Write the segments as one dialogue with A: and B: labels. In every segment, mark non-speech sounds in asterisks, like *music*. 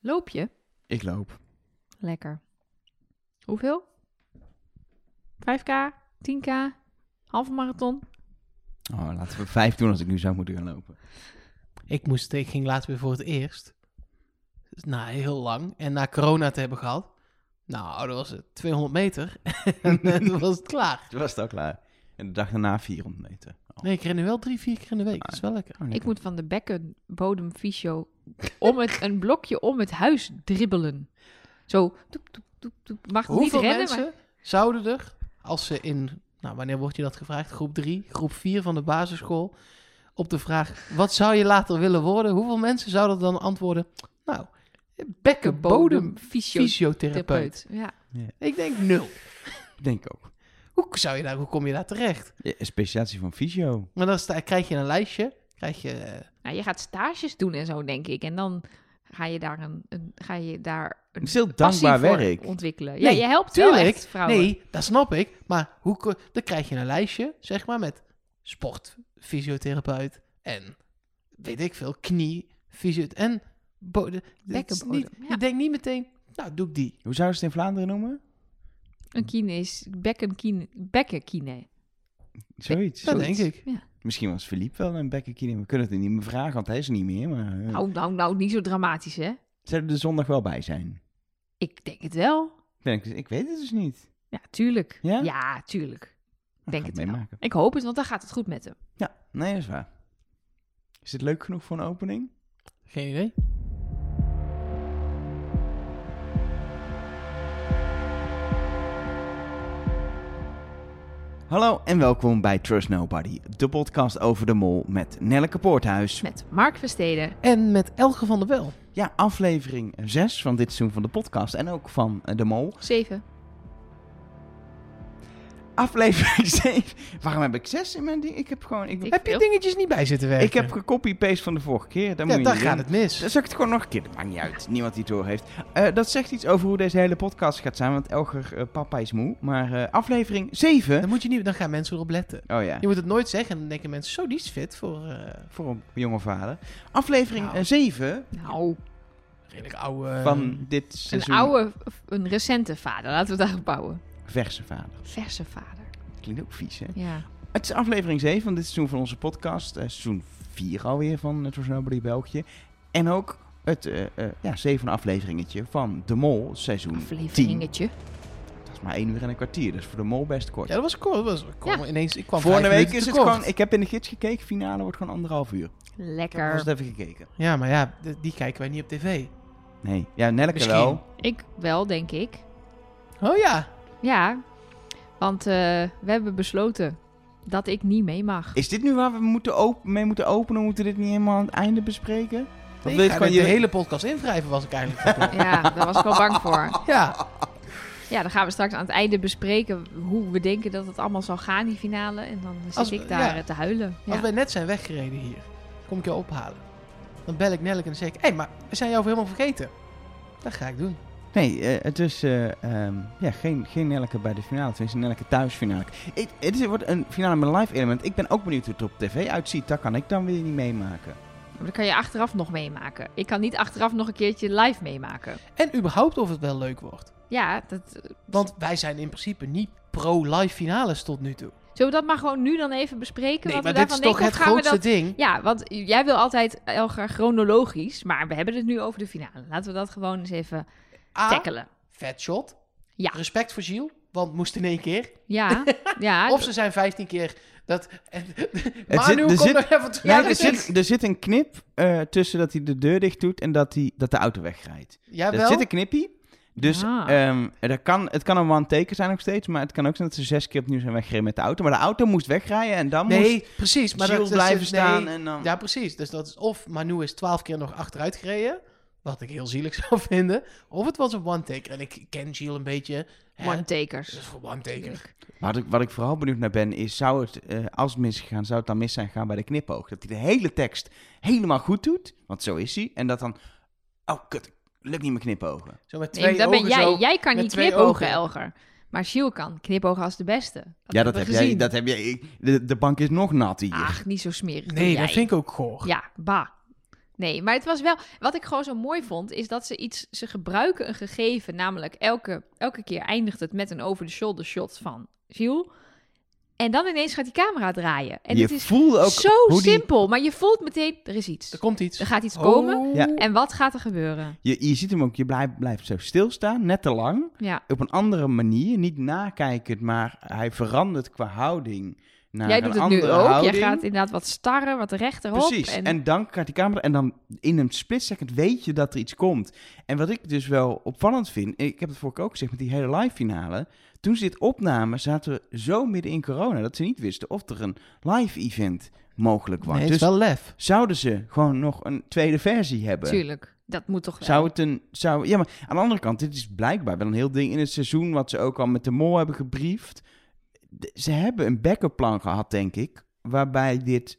A: Loop je?
B: Ik loop.
A: Lekker. Hoeveel? 5k? 10k? Halve marathon?
B: Oh, laten we vijf doen als ik nu zou moeten gaan
A: *laughs*
B: lopen.
C: Ik, moest, ik ging laatst weer voor het eerst. Dus, nou, heel lang. En na corona te hebben gehad. Nou, dat was het 200 meter. *laughs* en eh, toen was het klaar.
B: Toen was het al klaar. En de dag daarna 400 meter. Oh,
C: Nee, ik ren nu wel drie, vier keer in de week. Dat is wel lekker.
B: oh, lekker.
A: Ik moet van de bekkenbodemfysio om het, een blokje om het huis dribbelen. Zo, toep, toep, toep, toep. mag niet
C: Hoeveel
A: rennen,
C: mensen
A: maar
C: zouden er, als ze in, nou wanneer wordt je dat gevraagd? Groep 3, groep 4 van de basisschool. Op de vraag, wat zou je later willen worden? Hoeveel mensen zouden dan antwoorden, nou, bekkenbodem
A: bekkenbodemfysiotherapeut.
C: fysiotherapeut.
A: Ja.
C: Ik denk nul.
B: Ik denk ook.
C: Hoe, zou je daar, hoe kom je daar terecht?
B: Ja, specialisatie van fysio.
C: Maar dan sta, krijg je een lijstje, krijg je... eh,
A: Nou, je gaat stages doen en zo, denk ik. En dan ga je daar een, een, ga je daar
B: Het
A: een
B: is heel
A: passie
B: dankbaar
A: voor
B: werk.
A: ontwikkelen.
C: Nee,
A: ja, je helpt wel
C: tuurlijk.
A: echt vrouwen.
C: Nee, dat snap ik. Maar hoe, ko- dan krijg je een lijstje, zeg maar, met sport, fysiotherapeut en weet ik veel, knie, fysio en bodem. Het is
A: Bekkenbodem,
C: niet-
A: ja.
C: Je denkt niet meteen, nou doe ik die.
B: Hoe zouden ze het in Vlaanderen noemen?
A: Een kine is bekkenkine, bekkenkine.
B: Zoiets.
C: Dat
B: zoiets.
C: denk ik.
B: Misschien was Philippe wel een bekkenkine. We kunnen het niet meer vragen, want hij is er niet meer. Maar eh,
A: Nou, nou, nou, niet zo dramatisch, hè?
B: zullen er de zondag wel bij zijn?
A: Ik denk het wel.
B: Ik Denk, ik weet het dus niet.
A: Ja, tuurlijk.
B: Ja?
A: tuurlijk.
B: Ik
A: Denk
B: ga
A: het
B: het
A: wel.
B: meemaken.
A: Ik hoop het, want dan gaat het goed met hem.
B: Ja, nee, dat is waar. Is dit leuk genoeg voor een opening?
C: Geen idee.
B: Hallo en welkom bij Trust Nobody, de podcast over de mol met Nelleke Poorthuis.
A: Met Mark Versteden.
C: En met Elge van der Wel.
B: Ja, aflevering 6 van dit seizoen van de podcast en ook van eh, de mol.
A: 7.
B: Aflevering *laughs* 7. Waarom heb ik 6 in mijn ding? Ik heb gewoon... Ik,
A: Ik-
C: Heb je
A: veel.
C: dingetjes niet bij zitten werken?
B: ik heb gecopy-paste van de vorige keer. Daar
C: Ja,
B: moet je
C: daar
B: niet
C: gaat
B: doen.
C: het mis.
B: Dan zeg ik het gewoon nog een keer. Dat maakt niet uit. Niemand die het door heeft. Eh, dat zegt iets over hoe deze hele podcast gaat zijn. Want Elger, eh, papa is moe. Maar eh, aflevering 7.
C: Dan, moet je niet, dan gaan mensen erop letten.
B: Oh ja.
C: Je moet het nooit zeggen en dan denken mensen, zo die is fit voor eh,
B: Voor een jonge vader. Aflevering
C: Nou. Eh,
B: eh, 7
A: Nou,
C: redelijk oude...
B: van dit
A: een
B: seizoen.
A: oude, een recente vader. Laten we het daarop bouwen.
B: Verse vader.
A: Verse vader.
B: Klinkt ook vies, hè?
A: Ja.
B: Het is aflevering 7 van dit seizoen van onze podcast. eh, seizoen 4 alweer van It Was Nobody België. En ook het eh eh ja, zevende afleveringetje van De Mol seizoen 10.
A: Afleveringetje.
B: Dat is maar 1 uur en een kwartier, dus voor De Mol best kort.
C: Ja, dat was cool. Dat was, ik kwam
A: Ja.
C: ineens, ik kwam
B: Vorige
C: vijf
B: week
C: minuten
B: is het
C: tekort.
B: gewoon... Ik heb in de gids gekeken, finale wordt gewoon anderhalf uur. Ik heb
A: Lekker.
B: vast even gekeken.
C: Ja, maar ja, d- die kijken wij niet op tv.
B: Nee, ja, Nelke
C: Misschien.
B: wel.
A: Ik wel, denk ik.
C: Oh ja,
A: Ja, want eh, we hebben besloten dat ik niet mee mag.
B: Is dit nu waar we moeten op- mee moeten openen? Moeten we dit niet helemaal aan het einde bespreken? Of wil je
C: Nee, ik
B: het
C: ga
B: gewoon
C: dit
B: je
C: de hele podcast invrijven, was ik eigenlijk. van plan.
A: Ja, daar was ik wel bang voor.
C: ja,
A: Ja, dan gaan we straks aan het einde bespreken hoe we denken dat het allemaal zal gaan, die finale. En dan zit
C: Als we-
A: ik daar
C: ja.
A: eh, te huilen. Ja.
C: als wij net zijn weggereden hier, kom ik jou ophalen. Dan bel ik Nelk en dan zeg ik, hé, hey, maar we zijn jou helemaal vergeten. Dat ga ik doen.
B: Nee, eh, het is eh, ehm, ja, geen, geen Nelke bij de finale. Het is een Nelke thuisfinale. Ik- Het is- wordt een finale met een live element. Ik ben ook benieuwd hoe het er op tv uitziet. Dat kan ik dan weer niet meemaken.
A: Maar dat kan je achteraf nog meemaken. Ik kan niet achteraf nog een keertje live meemaken.
C: En überhaupt of het wel leuk wordt.
A: Ja, dat,
C: Want wij zijn in principe niet pro-live finales tot nu toe.
A: zullen we dat maar gewoon nu dan even bespreken?
C: Nee,
A: wat
C: maar
A: we
C: dit
A: daarvan
C: is toch
A: denken,
C: het
A: of gaan we
C: grootste
A: dat...
C: ding.
A: Ja, want jij wil altijd Elger chronologisch, maar we hebben het nu over de finale. Laten we dat gewoon eens even
C: A,
A: tackelen.
C: vet shot.
A: Ja.
C: Respect voor Gilles, want moest in één keer. *laughs*
A: Ja, ja.
C: Of ze zijn 15 keer dat... *laughs*
B: zit-
C: Manu,
B: er
C: kom
B: zit-
C: nog even terug.
A: Ja,
B: nee, er, zit, er zit een knip eh, tussen dat hij de deur dicht doet en dat, hij, dat de auto wegrijdt. Er
C: Jawel.
B: zit een knippie. Dus
A: Ah.
B: ehm, er kan, het kan een one-taker zijn nog steeds. Maar het kan ook zijn dat ze zes keer opnieuw zijn weggereden met de auto. Maar de auto moest wegrijden en dan moest
C: Nee, precies. Maar
B: Gilles
C: dat, dat
B: blijven
C: nee,
B: staan. En dan...
C: Ja, precies. Dus dat is of Manu is twaalf keer nog achteruit gereden, wat ik heel zielig *laughs* zou vinden, of het was een one-taker. En ik ken Gilles een beetje. hè,
A: One-takers.
C: dus voor one-taker.
B: Wat ik, wat ik vooral benieuwd naar ben, is zou het, eh, als het misgegaan, zou het dan mis zijn gegaan bij de knipoog? Dat hij de hele tekst helemaal goed doet, want zo is hij. En dat dan, oh kut, lukt niet mijn knipogen.
C: Zo met twee
A: Nee, dat ben
C: ogen
A: jij.
C: zo.
A: jij kan
C: met
A: niet
C: twee
A: knipogen,
C: ogen.
A: Elger. Maar Gilles kan knipogen als de beste.
B: ja,
A: hebben
B: dat heb,
A: we
B: jij,
A: gezien. Ah,
B: dat heb jij. ik- De, de bank is nog nat hier.
A: Ach, niet zo smerig.
C: Nee,
A: doe
C: dat
A: jij.
C: vind ik ook goor.
A: Ja, ba. Nee, maar het was wel. Wat ik gewoon zo mooi vond, is dat ze iets. Ze gebruiken een gegeven, namelijk elke, elke keer eindigt het met een over-the-shoulder shot van Gilles. En dan ineens gaat die camera draaien. En
B: je
A: het is
B: voelt ook
A: zo
B: hoe die-
A: simpel, maar je voelt meteen, er is iets.
C: Er komt
A: Er
C: iets. Oh,
A: gaat iets komen.
B: Ja.
A: En wat gaat er gebeuren?
B: Je, je ziet hem ook, je blijft, blijft zo stilstaan, net te lang.
A: Ja.
B: Op een andere manier, niet nakijkend, maar hij verandert qua houding naar
A: Jij
B: een
A: doet het nu
B: andere
A: ook.
B: houding.
A: Jij gaat inderdaad wat starren, wat rechterop.
B: Precies, en...
A: En,
B: dan gaat die camera en dan in een split second weet je dat er iets komt. En wat ik dus wel opvallend vind, ik heb het vorige keer ook gezegd met die hele live finale. Toen ze dit opnamen zaten we zo midden in corona dat ze niet wisten of er een live event mogelijk was.
C: Nee, het
B: dus
C: is wel lef.
B: zouden ze gewoon nog een tweede versie hebben?
A: tuurlijk, dat moet toch wel.
B: Zou het een. Zou, ja, maar aan de andere kant, dit is blijkbaar wel een heel ding in het seizoen. wat ze ook al met de Mol hebben gebriefd. De- ze hebben een backup plan gehad, denk ik. waarbij dit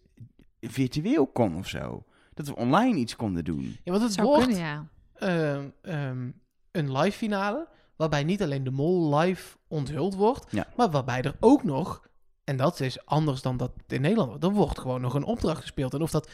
B: virtueel kon of zo. Dat we online iets konden doen.
C: Ja, want
A: Dat
C: het
A: zou
C: wordt
A: kunnen, ja.
C: ehm, ehm, een live finale. Waarbij niet alleen de mol live onthuld wordt.
B: Ja.
C: Maar waarbij er ook nog. En dat is anders dan dat in Nederland. wordt, Er wordt gewoon nog een opdracht gespeeld. En of dat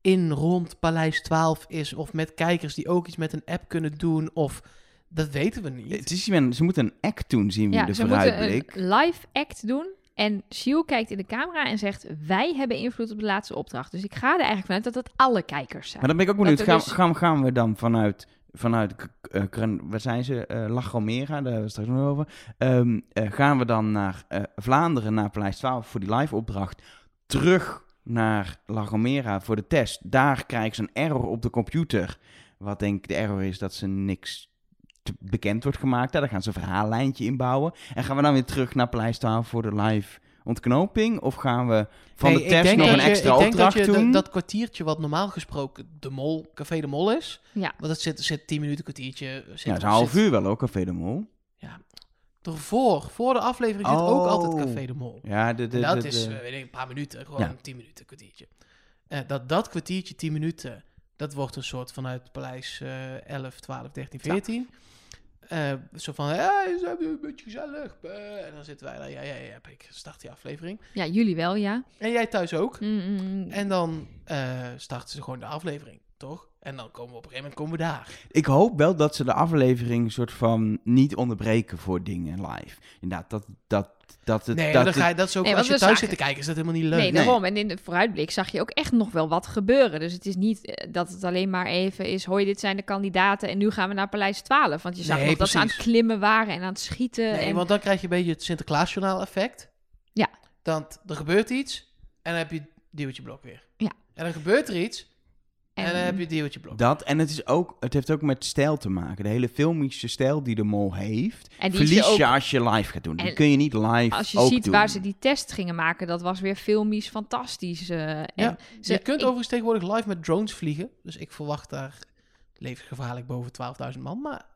C: in rond Paleis 12 is. Of met kijkers die ook iets met een app kunnen doen. Of dat weten we niet.
B: Het is, hier een- ze moeten een act doen, zien we in
A: ja
B: de
A: ze moeten een
B: vooruitblik.
A: live act doen. En Siel kijkt in de camera en zegt: Wij hebben invloed op de laatste opdracht. Dus ik ga er eigenlijk vanuit dat dat alle kijkers zijn.
B: Maar dan ben ik ook
A: Dat
B: benieuwd.
A: er
B: Gaan,
A: dus-
B: gaan, gaan we dan vanuit. vanuit K- eh, Kren- waar zijn ze? eh La Gomera, daar hebben we het straks nog over. Ehm, eh, gaan we dan naar eh, Vlaanderen, naar Paleis 12 voor die live opdracht. Terug naar La Gomera voor de test. Daar krijgen ze een error op de computer. Wat denk ik de error is dat ze niks te- bekend wordt gemaakt. Daar gaan ze een verhaallijntje inbouwen. En gaan we dan weer terug naar Paleis 12 voor de live ontknoping? Of gaan we van
C: Nee,
B: de
C: ik
B: test
C: denk
B: nog
C: dat
B: een
C: je-
B: extra
C: ik denk
B: opdracht
C: dat je de-
B: doen?
C: dat kwartiertje wat normaal gesproken de mol, Café de Mol is.
A: Ja.
C: Want dat zit, zit 10 minuten, kwartiertje. Zit,
B: Ja, het is een
C: zit-
B: half uur wel ook, Café de Mol.
C: Ervoor, voor de aflevering zit ook
B: Oh.
C: altijd Café de Mol.
B: Ja, de, de,
C: En dat
B: de-
C: is,
B: de-
C: eh, weet ik, een paar minuten. Gewoon
B: Ja.
C: 10 minuten, kwartiertje. Eh, dat, dat kwartiertje, 10 minuten, dat wordt een soort vanuit Paleis eh 11, 12, 13, 14. Eh, zo van, hey, ze hebben een beetje gezellig. eh, en dan zitten wij daar, ja, ja, ja, ik start die aflevering.
A: Ja, jullie wel, ja.
C: En jij thuis ook.
A: Mm, mm,
C: En dan eh, starten ze gewoon de aflevering, toch? En dan komen we op een gegeven moment komen we daar.
B: Ik hoop wel dat ze de aflevering soort van niet onderbreken voor dingen live. Inderdaad, dat, dat, dat het...
C: nee,
B: dat
C: maar dan
B: het-
C: ga je, dat is ook,
A: Nee,
C: als je
A: want
C: thuis
A: we
C: zit te
A: zagen-
C: kijken, is dat helemaal niet leuk.
A: Nee, daarom. En in de vooruitblik zag je ook echt nog wel wat gebeuren. Dus het is niet eh, dat het alleen maar even is: hoi, dit zijn de kandidaten en nu gaan we naar Paleis 12. Want je zag
C: Nee,
A: nog dat ze aan het
C: precies.
A: klimmen waren en aan het schieten.
C: Nee,
A: Eh, en...
C: want dan krijg je een beetje het Sinterklaasjournaal effect.
A: Ja.
C: Dan er gebeurt iets en dan heb je duwtje blok weer.
A: Ja.
C: En dan gebeurt er iets en,
A: en-
C: dan heb je duwtje blok.
B: Dat, en het, is ook, het heeft ook met stijl te maken. De hele filmische stijl die de mol heeft,
A: En die is
B: verlies
A: er ook-
B: je als je live gaat doen. Die
A: En
B: kun je niet live
A: Als je
B: ook
A: ziet
B: doen.
A: waar ze die test gingen maken, dat was weer filmisch fantastisch. eh, en
C: Ja,
A: ze-
C: je kunt
A: ik-
C: overigens tegenwoordig live met drones vliegen. Dus ik verwacht daar levensgevaarlijk boven 12.000 man. Maar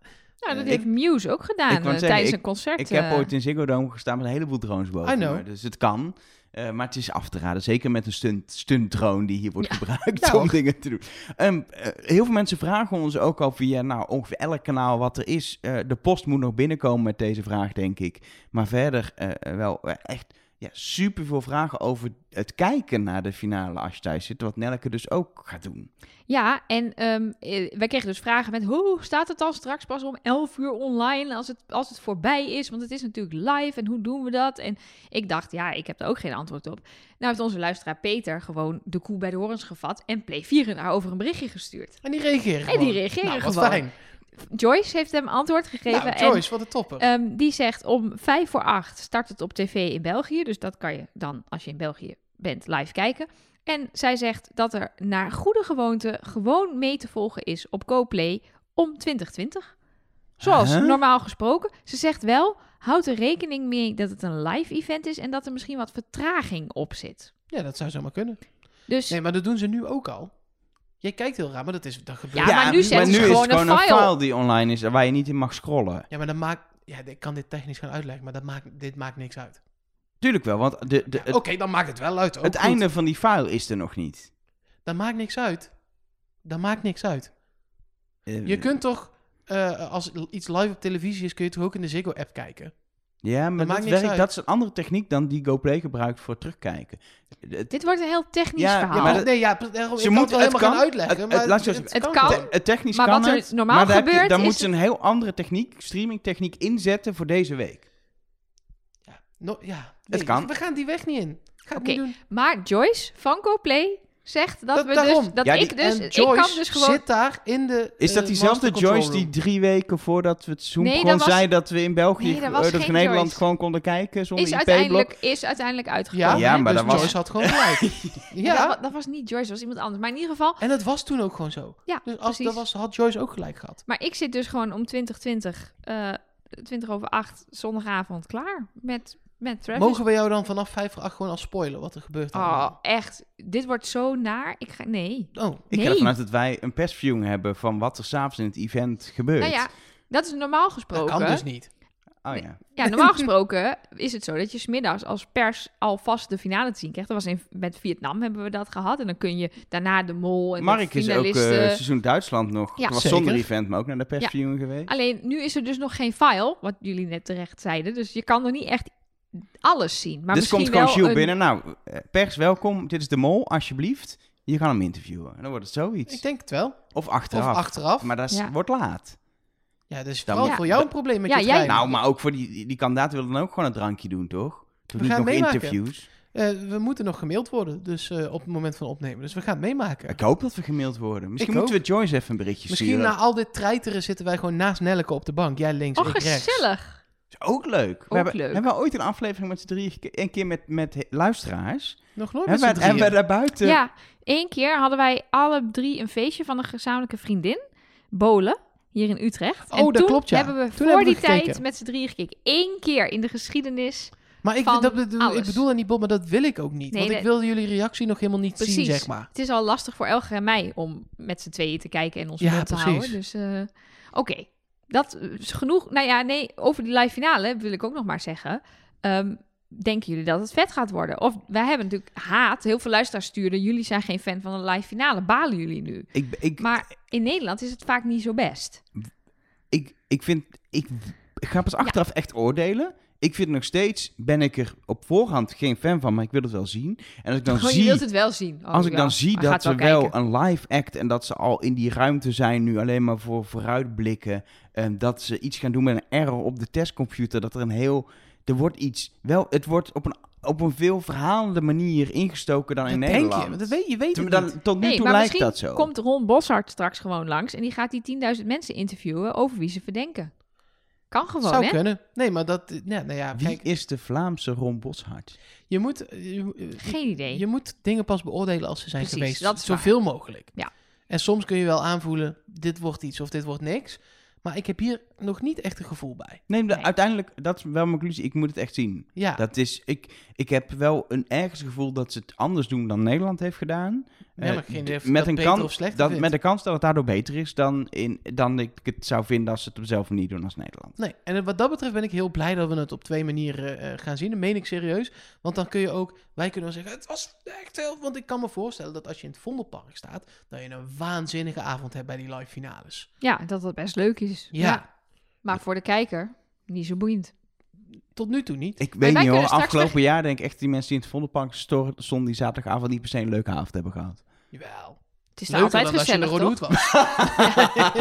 A: Nou, dat
B: Eh,
A: heeft Muse ook gedaan
B: ik wou
A: eh,
B: zeggen,
A: tijdens
B: ik-
A: een concert.
B: Ik heb
A: eh.
B: ooit in Ziggo Dome gestaan met een heleboel drones boven
C: I know.
B: me, Dus het kan. Eh, maar het is af te raden. Zeker met een stunt, stunt drone die hier wordt
A: *laughs* Ja.
B: gebruikt
C: Ja,
B: om
C: hoor.
B: dingen te doen. Ehm, eh, heel veel mensen vragen ons ook al via nou, ongeveer elk kanaal wat er is. Eh, de post moet nog binnenkomen met deze vraag, denk ik. Maar verder eh, wel eh, echt ja, super veel vragen over het kijken naar de finale als je thuis zit. Wat Nelke dus ook gaat doen.
A: Ja, en ehm, eh, wij kregen dus vragen met... hoe staat het dan straks pas om 11 uur online als het, als het voorbij is? Want het is natuurlijk live en hoe doen we dat? En ik dacht, ja, ik heb daar ook geen antwoord op. Nou heeft onze luisteraar Peter gewoon de koe bij de horens gevat... en Play 4 en haar over een berichtje gestuurd.
C: en die reageren
A: En die
C: gewoon.
A: reageren
C: nou, wat
A: gewoon.
C: fijn.
A: Joyce heeft hem antwoord gegeven.
C: Nou,
A: en-
C: Joyce, wat een topper.
A: Ehm, die zegt om vijf voor acht start het op tv in België. Dus dat kan je dan, als je in België bent, live kijken. En zij zegt dat er naar goede gewoonte gewoon mee te volgen is op GoPlay om 2020. Zoals
B: Huh?
A: normaal gesproken. Ze zegt wel, houd er rekening mee dat het een live event is en dat er misschien wat vertraging op zit.
C: ja, dat zou zomaar kunnen.
A: Dus
C: Nee, maar dat doen ze nu ook al. Jij kijkt heel raar, maar dat, is, dat gebeurt.
A: Ja, maar nu zetten ze
B: is het
A: gewoon
B: gewoon
A: een
B: een
A: file.
B: file die online is en waar je niet in mag scrollen.
C: Ja, maar dat maakt... Ja, ik kan dit technisch gaan uitleggen, maar dat maakt, dit maakt niks uit.
B: Tuurlijk wel, want de, de, het,
C: Oké, dan maakt het wel uit. ook
B: het
C: Oh, goed.
B: einde van die file is er nog niet.
C: Dat maakt niks uit. Dat maakt niks uit.
B: Eh,
C: eh, Je kunt toch, eh, als l- iets live op televisie is, kun je toch ook in de Ziggo-app kijken?
B: Ja, maar
C: maakt
B: dat,
C: niks
B: werkt-
C: uit.
B: dat is een andere techniek dan die GoPlay gebruikt voor terugkijken. Het,
A: Dit wordt een heel technisch
B: Ja, ja,
A: verhaal.
B: maar
C: maar
B: dat-
C: nee, ja, pre- daarom,
B: Ze
C: ik kan
B: moet-
C: het wel
B: het
C: helemaal
B: kan-
C: gaan uitleggen.
B: het-
C: maar
B: het- luister,
A: het kan.
C: gewoon.
A: Oh.
B: te- technisch
A: Maar
B: kan
A: wat er
B: het,
A: normaal
B: maar daar, heb je-
A: gebeurt
B: daar
A: is
B: moet ze
A: het-
B: een heel andere techniek, streamingtechniek inzetten voor deze week.
C: No- ja,
B: Het kan.
C: We gaan die weg niet in. Ga ik
A: Oké.
C: niet doen.
A: Maar Joyce van GoPlay zegt dat,
C: Dat-
A: we
C: daarom.
A: dus, dat
B: Ja, die-
A: ik dus,
C: en
A: ik
C: Joyce
A: kan dus gewoon...
C: zit daar in de
B: Is dat
C: eh,
B: diezelfde
C: master control
B: Joyce die
C: room.
B: drie weken voordat we het Zoom
A: Nee,
B: gewoon
A: dat was-
B: zei dat we in België,
A: Nee, dat
B: eh,
A: was
B: dat we in
A: geen
B: Nederland
A: Joyce.
B: gewoon konden kijken zonder
A: Is
B: IP-blok?
A: uiteindelijk, is uiteindelijk
C: Ja,
A: uitgekomen.
B: Ja,
A: hè?
B: maar
C: dus
B: dat was-
C: Joyce had gewoon
B: *laughs*
C: gelijk.
A: Dat,
C: ja,
A: wa- dat was niet Joyce, dat was iemand anders. Maar in ieder geval,
C: en dat was toen ook gewoon zo.
A: ja,
C: Dus als
A: precies.
C: dat was, had Joyce ook gelijk gehad.
A: Maar ik zit dus gewoon om 2020, eh 20 over 8, zondagavond klaar met, met Travis.
C: Mogen Ah. we jou dan vanaf 5 voor 8 gewoon al spoilen wat er gebeurt?
A: Oh,
C: allemaal?
A: echt. Dit wordt zo naar. Ik ga... Nee.
C: Oh,
B: Ik ga
A: Nee.
B: ervan uit dat wij een persviewing hebben van wat er s'avonds in het event gebeurt.
A: Nou ja, dat is normaal
C: dat
A: gesproken.
C: kan dus niet.
B: Oh ja.
A: Ja, normaal gesproken *laughs* is het zo dat je smiddags als pers alvast de finale te zien krijgt. Dat was in, met Vietnam hebben we dat gehad. En dan kun je daarna de mol en
B: Mark
A: de
B: is ook eh,
A: finalisten...
B: seizoen Duitsland nog.
A: Ja.
B: was
C: Zeker.
B: zonder event, maar ook naar de persviewing geweest.
A: Alleen nu is er dus nog geen file, wat jullie net terecht zeiden. Dus je kan nog niet echt alles zien. Maar
B: dus
A: misschien
B: komt gewoon
A: wel
B: Gilles
A: een-
B: binnen. Nou, eh, pers, welkom. Dit is de mol, alsjeblieft. Je gaat hem interviewen. En dan wordt het zoiets.
C: Ik denk het wel.
B: Of
C: Of
B: achteraf.
C: achteraf.
B: Maar dat is-
A: Ja.
B: wordt laat.
C: ja, dus
B: Dan
C: vooral
A: moet-
C: voor jou een probleem met
A: Ja,
C: je
A: jij-
C: trein.
B: Nou, maar ook voor die, die kandidaten willen dan ook gewoon een drankje doen, toch? Toen
C: gaan
B: niet nog
C: meemaken.
B: interviews.
C: Eh, we moeten nog gemaild worden, dus eh, op het moment van opnemen. Dus we gaan het meemaken.
B: Ik hoop dat we gemaild worden. Misschien
C: Ik
B: moeten we Joyce even een berichtje
C: Misschien
B: sturen.
C: na al dit treiteren zitten wij gewoon naast Nelleke op de bank. Jij links,
A: Oh,
C: ik rechts.
A: gezellig.
B: is ook leuk. we hebben,
A: leuk.
B: hebben we ooit een aflevering met z'n drieën, geke- een keer met, met he- luisteraars?
C: Nog nooit Oh, met
B: Hebben wij,
C: z'n
B: hebben
C: drieën.
B: wij daar buiten...
A: Ja, één keer hadden wij alle drie een feestje van een gezamenlijke vriendin. Bolen, hier in Utrecht.
C: Oh,
A: en
C: dat
A: toen
C: klopt, ja.
A: hebben we
C: Toen
A: voor
C: hebben we
A: die
C: gekeken.
A: tijd met z'n drieën gekeken. Eén keer in de geschiedenis.
C: Maar ik,
A: van
C: dat bedoel- ik
A: alles.
C: bedoel dat niet, Bob, maar dat wil ik ook niet.
A: Nee,
C: want ik
A: dat-
C: wilde jullie reactie nog helemaal niet
A: Precies.
C: zien, zeg maar.
A: Het is al lastig voor Elger en mij om met z'n tweeën te kijken en ons
C: Ja,
A: mond te
C: precies.
A: houden. Dus eh, oké, dat is genoeg. Nou ja, nee, over die live finale wil ik ook nog maar zeggen. Ehm, denken jullie dat het vet gaat worden? Of wij hebben natuurlijk haat. Heel veel luisteraars sturen. Jullie zijn geen fan van een live finale. Balen jullie nu?
B: Ik, ik,
A: Maar in Nederland is het vaak niet zo best.
B: ik, ik vind, ik, ik ga pas achteraf echt oordelen. Ik vind nog steeds, ben ik er op voorhand geen fan van, maar ik wil het wel zien. En als ik dan
A: Gewoon, Oh, je
B: zie,
A: wilt het wel zien. Oh,
B: als ik
A: wel.
B: dan zie
A: Maar gaat
B: dat ze wel
A: kijken.
B: een live act en dat ze al in die ruimte zijn, nu alleen maar voor vooruitblikken. En dat ze iets gaan doen met een error op de testcomputer. Dat er een heel, er wordt iets, wel, het wordt op een, op een veel verhalende manier ingestoken dan in
C: dat denk
B: Nederland.
C: je, maar dat weet, je weet
B: Toen-
C: het
B: dan-
C: niet.
B: tot nu
A: Nee,
B: toe
A: maar
B: lijkt
A: misschien
B: dat zo.
A: komt Ron Boshart straks gewoon langs... en die gaat die 10.000 mensen interviewen over wie ze verdenken. Kan gewoon,
C: Zou
A: hè?
C: kunnen. Nee, maar dat... Ja, nou ja,
B: Wie
C: kijk,
B: is de Vlaamse Ron Boshart?
C: je moet... eh, je-
A: Geen idee.
C: Je moet dingen pas beoordelen als ze zijn
A: Precies,
C: geweest.
A: dat is
C: Zoveel mogelijk.
A: Ja.
C: En soms kun je wel aanvoelen, dit wordt iets of dit wordt niks. Maar ik heb hier nog niet echt een gevoel bij.
B: Nee, maar
A: Nee.
B: uiteindelijk, dat is wel mijn conclusie. Ik moet het echt zien.
C: Ja,
B: Dat is, ik, ik heb wel een ergens gevoel dat ze het anders doen dan Nederland heeft gedaan.
C: Ja, maar
B: Eh,
C: geen idee of
B: d-
C: ik dat beter of slechter
B: dat,
C: vind.
B: Met de kans dat het daardoor beter is dan, in, dan ik het zou vinden als ze het op dezelfde manier doen als Nederland.
C: nee. En wat dat betreft ben ik heel blij dat we het op twee manieren eh, gaan zien. Dat meen ik serieus. Want dan kun je ook... Wij kunnen wel zeggen, het was echt heel... Want ik kan me voorstellen dat als je in het Vondelpark staat... dat je een waanzinnige avond hebt bij die live finales.
A: Ja, dat dat best leuk is.
C: Ja,
A: Maar voor de kijker, niet zo boeiend.
C: tot nu toe niet.
B: Ik
A: wij
B: weet niet
A: kunnen
B: hoor,
A: straks
B: afgelopen jaar denk ik echt die mensen die in het Vondelpark storen- stonden die zaterdagavond niet per se een leuke avond hebben
C: *laughs*
B: gehad.
C: Jawel.
A: Het is daar
C: Leuker
A: altijd
C: dan als je in de
A: gezellig,
C: Rode
A: toch?
C: Hoed was.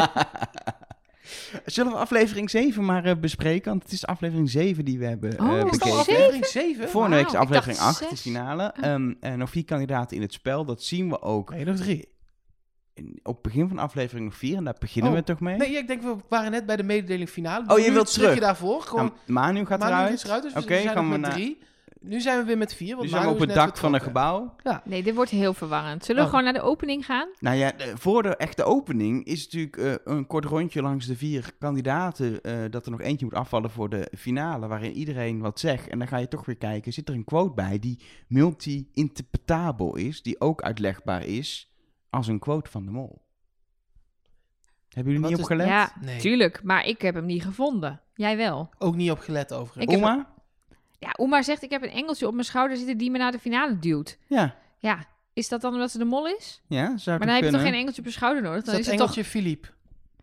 B: Zullen we aflevering 7 maar eh, bespreken? Want het is aflevering 7 die we hebben eh,
A: Oh, *laughs* is het al
B: bekeken.
C: Is het al
A: Zeven?
C: aflevering 7?
B: Vorige
A: Wauw,
B: week is
A: ik dacht
B: aflevering 8, de
A: zes.
B: finale.
C: Ah.
B: Ehm, en nog vier kandidaten in het spel, dat zien we ook
C: Nee, nog drie.
B: in- op het begin van aflevering nog vier. En daar beginnen
C: Oh,
B: we toch mee?
C: Nee, ja, ik denk, we waren net bij de mededeling finale.
B: Oh, je
C: Nu
B: wilt
C: het stukje
B: terug.
C: daarvoor. Gewoon,
B: Nou, Manu gaat
C: maar
B: eruit.
C: nu is het eruit, dus
B: Oké,
C: we zijn
B: gaan
C: nog
B: we
C: met
B: naar-
C: drie. Nu zijn we weer met vier,
B: Nu
C: want
B: zijn we op
C: Manu
B: het
C: is net
B: dak van een
C: vertrokken.
B: gebouw.
A: Nee, dit wordt heel verwarrend. Zullen
C: Oh.
A: we gewoon naar de opening gaan?
B: Nou ja, de- voor de echte opening is natuurlijk eh, een kort rondje langs de vier kandidaten. eh, dat er nog eentje moet afvallen voor de finale, waarin iedereen wat zegt. En dan ga je toch weer kijken, zit er een quote bij die multi-interpretabel is, die ook uitlegbaar is als een quote van de mol. Hebben jullie
C: Wat
B: niet
C: is-
B: op gelet?
A: Ja,
C: Nee.
A: tuurlijk. Maar ik heb hem niet gevonden. Jij wel.
C: Ook niet op gelet overigens.
A: Ik heb-
B: Oma?
A: Ja, Oemar zegt, ik heb een engeltje op mijn schouder zitten die me naar de finale duwt.
B: Ja.
A: Ja, is dat dan omdat ze de mol is?
B: Ja, zou
A: Maar
B: toch
A: dan heb je
B: kunnen?
A: toch geen e- engeltje op je schouder nodig?
C: Is
A: Dan
C: dat
A: is het toch...
C: engeltje Philippe?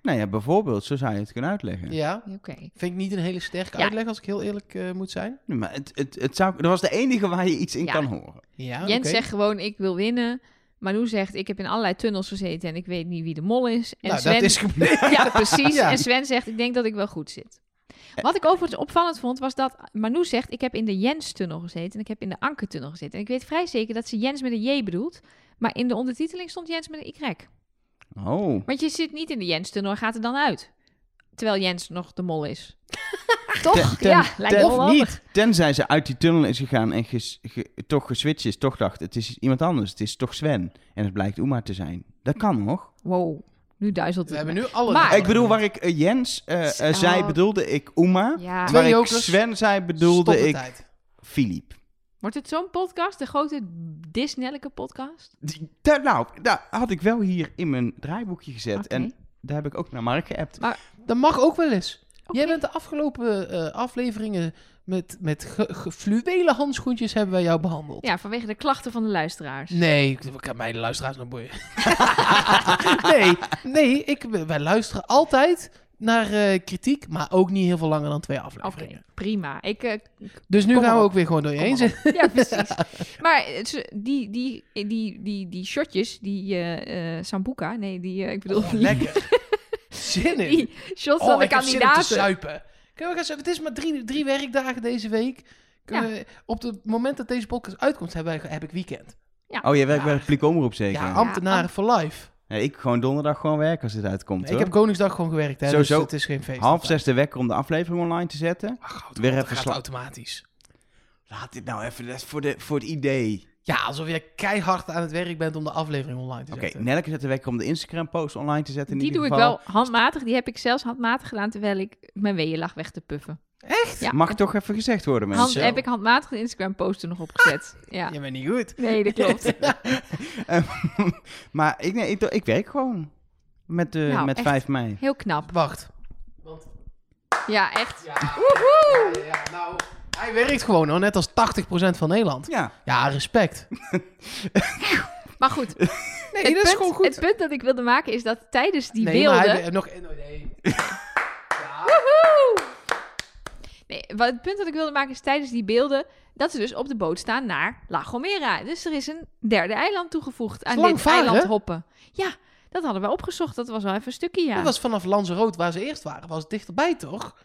B: Nou ja, bijvoorbeeld, zo zou je het kunnen uitleggen.
C: Ja,
A: Oké.
C: vind ik niet een hele sterke
A: Ja.
C: uitleg als ik heel eerlijk eh, moet zijn.
B: Nee, maar het, het, het zou, dat was de enige waar je iets in
A: Ja.
B: kan horen.
C: Ja,
A: Jens
C: Oh, oké.
A: zegt gewoon, ik wil winnen. Manu zegt, ik heb in allerlei tunnels gezeten en ik weet niet wie de mol is. En
C: nou,
A: Sven,
C: dat is
B: *laughs*
C: gebleken.
A: Ja, precies.
C: *laughs* Ja.
A: En Sven zegt, ik denk dat ik wel goed zit. Wat ik overigens opvallend vond, was dat Manu zegt... ik heb in de Jens-tunnel gezeten en ik heb in de Anker-tunnel gezeten. En ik weet vrij zeker dat ze Jens met een J bedoelt. Maar in de ondertiteling stond Jens met een Y.
B: Oh.
A: Want je zit niet in de Jens-tunnel en gaat er dan uit. Terwijl Jens nog de mol
C: *laughs*
A: is. Toch?
B: ten-
A: ja, lijkt me
B: ten-
A: wel
B: of
A: handig.
B: Tenzij ze uit die tunnel is gegaan en ges- ge- toch geswitcht is, toch dacht, het is iemand anders, het is toch Sven. En het blijkt Uma te zijn. Dat kan nog.
A: Wow, nu duizelt het.
C: We hebben
A: me.
C: nu alle...
A: Maar-
B: Ik bedoel, waar ik eh, Jens eh, eh,
A: Oh.
B: zei, bedoelde ik Uma.
A: Ja,
C: Twee
B: Waar ik
C: jokers.
B: Sven zei,
C: Stop de
B: bedoelde ik
C: tijd.
B: Filip.
A: wordt het zo'n podcast? De grote Disneylijke podcast?
B: Die- daar- Nou, daar had ik wel hier in mijn draaiboekje gezet.
A: Oké.
B: En daar heb ik ook naar Mark geappt.
C: Dat mag ook wel eens.
A: Oké.
C: Jij bent de afgelopen eh, afleveringen met, met ge- ge- fluwelen handschoentjes hebben wij jou behandeld.
A: Ja, vanwege de klachten van de luisteraars.
C: Nee, ik, ik heb mijn luisteraars nog boeien. *laughs* nee, nee ik, wij luisteren altijd naar eh, kritiek, maar ook niet heel veel langer dan twee
A: Oké,
C: afleveringen.
A: prima. Ik eh,
C: Dus nu
A: Kom
C: gaan
A: maar
C: we
A: op.
C: ook weer gewoon door je
A: Kom
C: heen
A: maar
C: zitten.
A: *laughs* Ja, precies. Maar eh, ze- die, die, die, die, die shotjes, die eh eh, Sambuca, nee, die, eh, ik bedoel,
C: Oh,
A: die, *laughs*
C: lekker. Zin in.
A: die shots
C: oh,
A: van de
C: ik heb zin om te
A: kandidaten.
C: zuipen. Kunnen we gaan zuipen? Het is maar drie, drie werkdagen deze week. Kunnen we- op het moment dat deze podcast uitkomt, heb, wij, heb ik weekend.
B: Oh, jij werkt bij de publieke omroep zeker?
C: Ja, ambtenaren for life.
B: Ja, ik gewoon donderdag gewoon werken als dit uitkomt,
C: Nee,
B: hoor.
C: ik heb Koningsdag gewoon gewerkt, hè,
B: Sowieso.
C: dus het is geen feest.
B: Half zes de wekker om de aflevering online te zetten.
C: Ach, goud,
B: Weer
C: dat
B: even
C: gaat
B: sla-
C: automatisch.
B: Laat dit nou even, dat is voor, de, voor het idee.
C: Ja, alsof jij keihard aan het werk bent om de aflevering online te
B: Oké,
C: zetten.
B: Nelke zet de wekker om de Instagram-post online te zetten. In
A: Die doe
B: ieder
A: ik
B: geval.
A: wel handmatig. Die heb ik zelfs handmatig gedaan terwijl ik mijn weeënlach weg te puffen.
C: Echt?
A: Ja.
B: Mag toch even gezegd worden, mensen.
A: Hand, heb ik handmatig de Instagram post er nog opgezet. Ja.
B: nou-
C: Je bent niet goed.
A: Nee, dat klopt.
C: *laughs*
B: maar ik, nee, ik, doe- ik werk gewoon met, de,
A: Nou,
B: met
A: echt.
B: 5 mei.
A: Heel knap.
C: Wacht.
A: Ja, echt.
C: *laughs* Ja, ja, nou, hij werkt gewoon hoor, net als 80% van Nederland.
B: Ja, *laughs*
C: Ja, respect.
A: Maar goed,
C: Nee,
A: het,
C: dat is
A: punt,
C: gewoon goed.
A: het punt dat ik wilde maken is dat tijdens die
C: nee,
A: beelden...
C: maar hij nog... oh, nee. *laughs* Ja.
A: Woehoe! Nee, wat het punt dat ik wilde maken is tijdens die beelden dat ze dus op de boot staan naar La Gomera. Dus er is een derde eiland toegevoegd aan
C: lang
A: dit
C: varen, hè?
A: eiland hoppen. Ja, dat hadden we opgezocht. Dat was wel even een stukje, ja.
C: Dat was vanaf Lanzarote, waar ze eerst waren, was het dichterbij toch?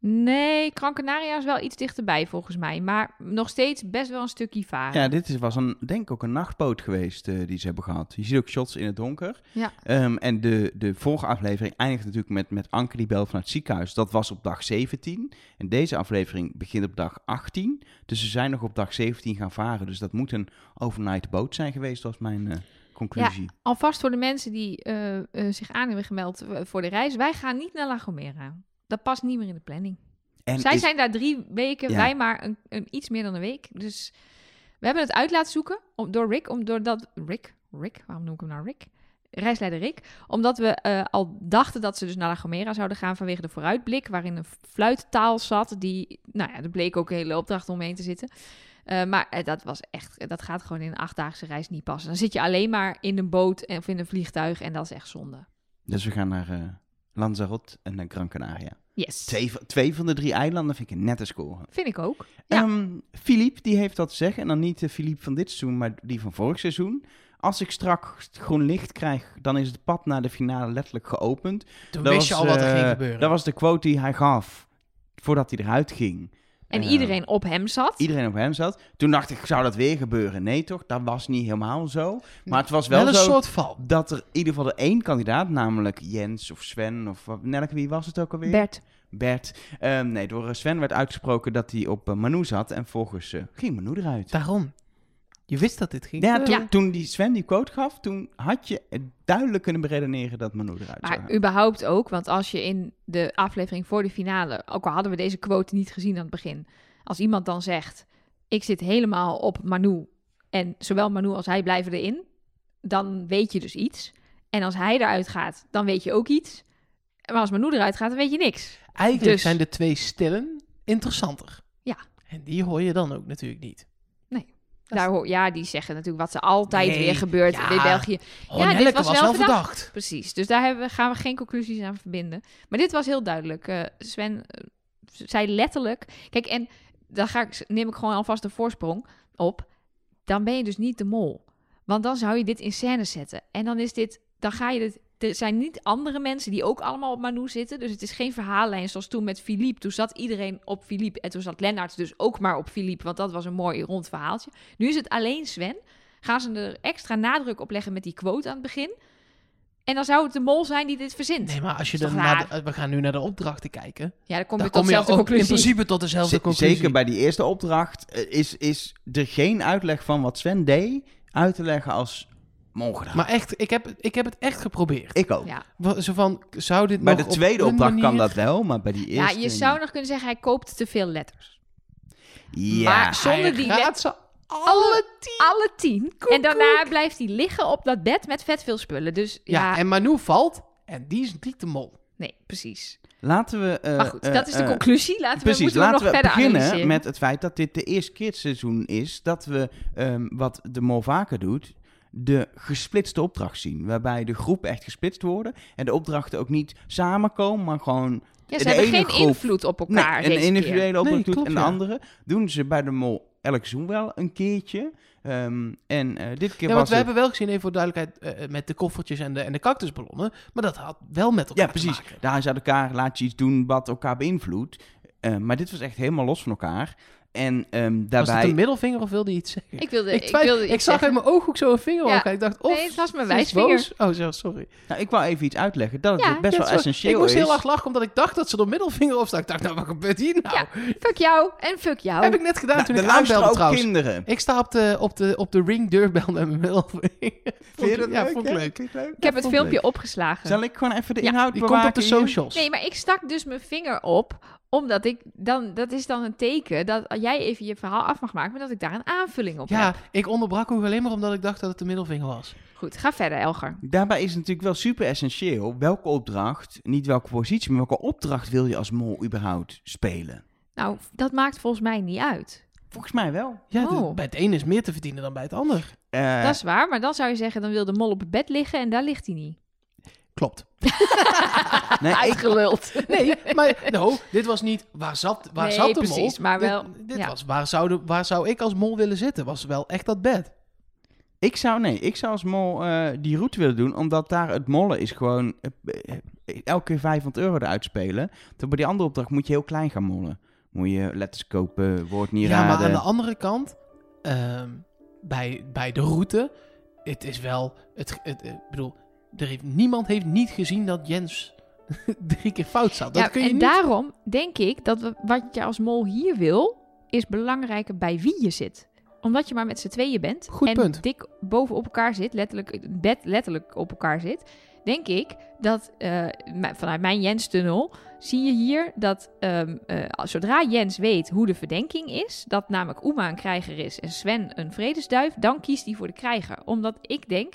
A: Nee, Gran Canaria is wel iets dichterbij volgens mij. Maar nog steeds best wel een stukje varen.
B: ja dit is, was een, denk ik ook een nachtboot geweest eh, die ze hebben gehad. Je ziet ook shots in het donker.
A: Ja.
B: Ehm, en de, de vorige aflevering eindigt natuurlijk met, met Anke die belt vanuit het ziekenhuis. Dat was op dag 17. En deze aflevering begint op dag 18. Dus ze zijn nog op dag 17 gaan varen. Dus dat moet een overnight boot zijn geweest, was mijn eh, conclusie.
A: Alvast voor de mensen die eh, eh, zich aan hebben gemeld eh, voor de reis. Wij gaan niet naar La Gomera. Dat past niet meer in de planning.
B: En
A: Zij
B: is-
A: zijn daar drie weken,
B: Ja.
A: wij maar een, een, iets meer dan een week. Dus we hebben het uit laten zoeken om, door Rick, om, doordat Rick, Rick, waarom noem ik hem nou Rick? Reisleider Rick, omdat we eh, al dachten dat ze dus naar La Gomera zouden gaan vanwege de vooruitblik, waarin een fluittaal zat, die, nou ja, er bleek ook een hele opdracht omheen te zitten. Eh, maar eh, dat was echt, dat gaat gewoon in een achtdaagse reis niet passen. Dan zit je alleen maar in een boot en- of in een vliegtuig en dat is echt zonde.
B: Dus we gaan naar eh, Lanzarote en naar Gran Canaria.
A: Yes,
B: Twee, van- twee van de drie eilanden vind ik een nette score.
A: vind ik ook. Ja.
B: Ehm Philippe, die heeft dat te zeggen. En dan niet de Philippe van dit seizoen, maar die van vorig seizoen. Als ik straks groen licht krijg, dan is het pad naar de finale letterlijk geopend.
C: Toen
B: Dat
C: wist je
B: was,
C: al wat er
B: eh,
C: ging gebeuren.
B: Dat was de quote die hij gaf voordat hij eruit ging.
A: En
B: Eh,
A: iedereen op hem zat.
B: Iedereen op hem zat. Toen dacht ik, zou dat weer gebeuren? Nee toch, dat was niet helemaal zo. Maar het was wel,
C: wel een
B: zo
C: soort val.
B: dat er in ieder geval de één kandidaat, namelijk Jens of Sven of wat- Nelke, wie was het ook alweer?
A: Bert,
B: Bert. Ehm, nee, door eh, Sven werd uitgesproken dat hij op eh, Manu zat en volgens eh, ging Manu eruit.
C: Daarom. Je wist dat dit ging
B: Ja, toen,
C: gebeuren.
B: toen die Sven die quote gaf, toen had je eh, duidelijk kunnen beredeneren dat Manu eruit zou
A: Maar
B: gaan.
A: überhaupt ook, want als je in de aflevering voor de finale, ook al hadden we deze quote niet gezien aan het begin, als iemand dan zegt: Ik zit helemaal op Manu en zowel Manu als hij blijven erin, dan weet je dus iets. En als hij eruit gaat, dan weet je ook iets. Maar als Manu eruit gaat, dan weet je niks.
C: Eigenlijk
A: Dus-
C: zijn de twee stillen interessanter.
A: Ja.
C: En die hoor je dan ook natuurlijk niet.
A: Nee. Daar, hoor- ja, die zeggen natuurlijk wat ze altijd
C: Nee,
A: weer gebeurt
C: ja.
A: in België.
C: Honelke
A: dit Oh, was wel
C: verdacht.
A: Precies. Dus daar hebben, we- gaan we geen conclusies aan verbinden. Maar dit was heel duidelijk. Eh, Sven eh, zei letterlijk. Kijk, en dan ga ik, neem ik gewoon alvast de voorsprong op. Dan ben je dus niet de mol. Want dan zou je dit in scène zetten. En dan is dit. Dan ga je dit. Er zijn niet andere mensen die ook allemaal op Manu zitten. Dus het is geen verhaallijn zoals toen met Philippe. Toen zat iedereen op Philippe. En toen zat Lennart dus ook maar op Philippe. Want dat was een mooi rond verhaaltje. Nu is het alleen Sven. Gaan ze er extra nadruk op leggen met die quote aan het begin. En dan zou het de mol zijn die dit verzint.
C: Nee, maar als je
A: Is toch
C: dan naar
A: raar?
C: de- we gaan nu naar de opdrachten kijken.
A: ja, dan kom je
C: Dan
A: tot
C: kom je
A: dezelfde
C: ook in
A: conclusie.
C: principe tot dezelfde
B: Z-
C: conclusie.
B: Zeker bij die eerste opdracht eh, is, is er geen uitleg van wat Sven deed uit te leggen als mongedrag.
C: Maar echt, ik heb, ik heb het echt geprobeerd.
B: ik ook.
A: Ja.
C: Wa- Zo van, zou dit
B: bij
C: nog
B: de
C: op
B: tweede
C: een
B: opdracht kan
C: manier-
B: dat wel, maar bij die
A: ja,
B: eerste...
A: je zou nog kunnen zeggen, hij koopt te veel letters.
B: Ja,
A: Maar zonder
C: Hij
A: die
C: raadt
A: letters...
C: ze
A: Alle tien. Alle tien. en daarna blijft hij liggen op dat bed met vet veel spullen. Dus ja,
C: Ja, en Manu valt en die is niet de mol.
A: nee, precies.
B: laten we... eh,
A: Maar goed,
B: eh,
A: dat is de
B: eh,
A: conclusie. Laten we,
B: Precies,
A: moeten
B: laten
A: we nog
B: we
A: verder
B: beginnen
A: analyseren.
B: met het feit dat dit de eerste keer het seizoen is dat we, ehm, wat de mol vaker doet, de gesplitste opdracht zien. Waarbij de groep echt gesplitst worden en de opdrachten ook niet samenkomen, maar gewoon
A: Ja,
B: de
A: ze hebben
B: ene
A: geen
B: groep-
A: invloed op
B: Nee,
A: elkaar
B: een
A: deze keer.
B: individuele opdracht
C: Nee,
B: doet
C: klopt,
B: en de
C: ja.
B: andere doen ze bij de mol elk seizoen wel een keertje. Ehm, en eh, dit keer
C: Ja,
B: was
C: want we
B: het...
C: hebben wel gezien, even voor duidelijkheid, eh, eh, met de koffertjes en de, en de cactusballonnen. Maar dat had wel met elkaar
B: Ja, precies.
C: te maken.
B: Daar is uit elkaar, laat je iets doen wat elkaar beïnvloedt. Eh, maar dit was echt helemaal los van elkaar. En ehm,
C: Was het
B: daarbij...
C: een middelvinger of wilde je iets zeggen?
A: Ik wilde,
C: ik,
A: ik,
C: twijfel-
A: wilde
C: ik
A: iets
C: zag
A: zeggen.
C: uit mijn ooghoek zo een vinger
A: Ja.
C: omhoog. Ik dacht, of
A: Nee, het was mijn
C: ze is
A: wijsvinger.
C: boos. Oh, zo, sorry.
B: Nou, ik wou even iets uitleggen. Dat
A: Ja,
B: het best
C: Ja,
B: wel
C: sorry.
B: essentieel
C: Ik moest
B: is.
C: heel erg lachen, omdat ik dacht dat ze door middelvinger opstak. Ik dacht, nou, wat gebeurt hier nou?
A: Fuck jou en fuck jou.
C: Heb ik net gedaan
B: Nou,
C: toen
B: er
C: ik
B: luisteren
C: aanbelde
B: ook
C: trouwens.
B: kinderen.
C: Ik sta op de, op de, op de ring deurbel met mijn middelvinger. *laughs*
B: Vind je dat
C: ja, vond ik
B: hè?
C: leuk.
B: Vind je het leuk?
A: Ik heb het filmpje opgeslagen.
B: Zal ik gewoon even de
A: Ja,
B: inhoud
C: Die
B: bewaken
C: komt op de
B: hier?
C: socials.
A: Nee, maar ik stak dus mijn vinger op, omdat ik dan, dat is dan een teken dat jij even je verhaal af mag maken, maar dat ik daar een aanvulling op
C: Ja,
A: heb.
C: ik onderbrak ook alleen maar omdat ik dacht dat het de middelvinger was.
A: Goed, ga verder, Elger.
B: Daarbij is het natuurlijk wel super essentieel welke opdracht, niet welke positie, maar welke opdracht wil je als mol überhaupt spelen?
A: Nou, dat maakt volgens mij niet uit.
B: Volgens mij wel.
C: Ja, de-
A: Oh.
C: bij het ene is meer te verdienen dan bij het ander.
B: Eh,
A: dat is waar, maar dan zou je zeggen, dan wil de mol op het bed liggen en daar ligt hij niet.
C: Klopt. *laughs*
B: nee, ik-
A: Uitgeluld.
C: Nee, maar *laughs* no, dit was niet waar zat, waar
A: Nee,
C: zat de mol.
A: precies, maar
C: Dit-
A: wel-
C: Dit,
A: ja.
C: was waar zou, de, waar zou ik als mol willen zitten, was wel echt dat bed.
B: Ik zou, nee, ik zou als mol eh, die route willen doen, omdat daar het mollen is gewoon eh, eh, elke keer 500 euro eruit spelen. Terwijl bij die andere opdracht moet je heel klein gaan mollen. Moet je letters kopen, woord niet
C: ja,
B: raden.
C: maar aan de andere kant, ehm, bij, bij de route, het is wel, het, het- eh, ik bedoel, er heeft, niemand heeft niet gezien dat Jens *laughs* drie keer fout zat. Dat
A: Ja,
C: kun je
A: en
C: niet.
A: daarom denk ik dat we- wat je als mol hier wil, is belangrijker bij wie je zit. Omdat je maar met z'n tweeën bent
C: Goed
A: en
C: punt.
A: dik boven op elkaar zit, letterlijk het bed letterlijk op elkaar zit, denk ik dat eh, m- vanuit mijn Jens-tunnel zie je hier dat ehm, eh, als- zodra Jens weet hoe de verdenking is, dat namelijk Oema een krijger is en Sven een vredesduif, dan kiest hij voor de krijger. Omdat ik denk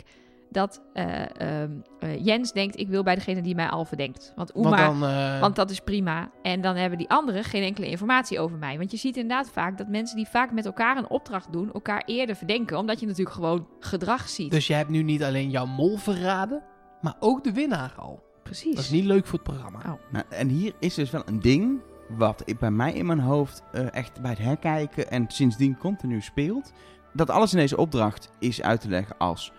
A: dat eh, ehm, eh, Jens denkt, ik wil bij degene die mij al verdenkt. Want Oema
C: Want dan, eh,
A: want dat is prima. En dan hebben die anderen geen enkele informatie over mij. Want je ziet inderdaad vaak dat mensen die vaak met elkaar een opdracht doen, elkaar eerder verdenken. Omdat je natuurlijk gewoon gedrag ziet.
C: dus je hebt nu niet alleen jouw mol verraden, maar ook de winnaar al.
A: Precies.
C: Dat is niet leuk voor het programma.
A: Oh.
B: Nou, en hier is dus wel een ding wat ik bij mij in mijn hoofd eh, echt bij het herkijken en sindsdien continu speelt. Dat alles in deze opdracht is uit te leggen als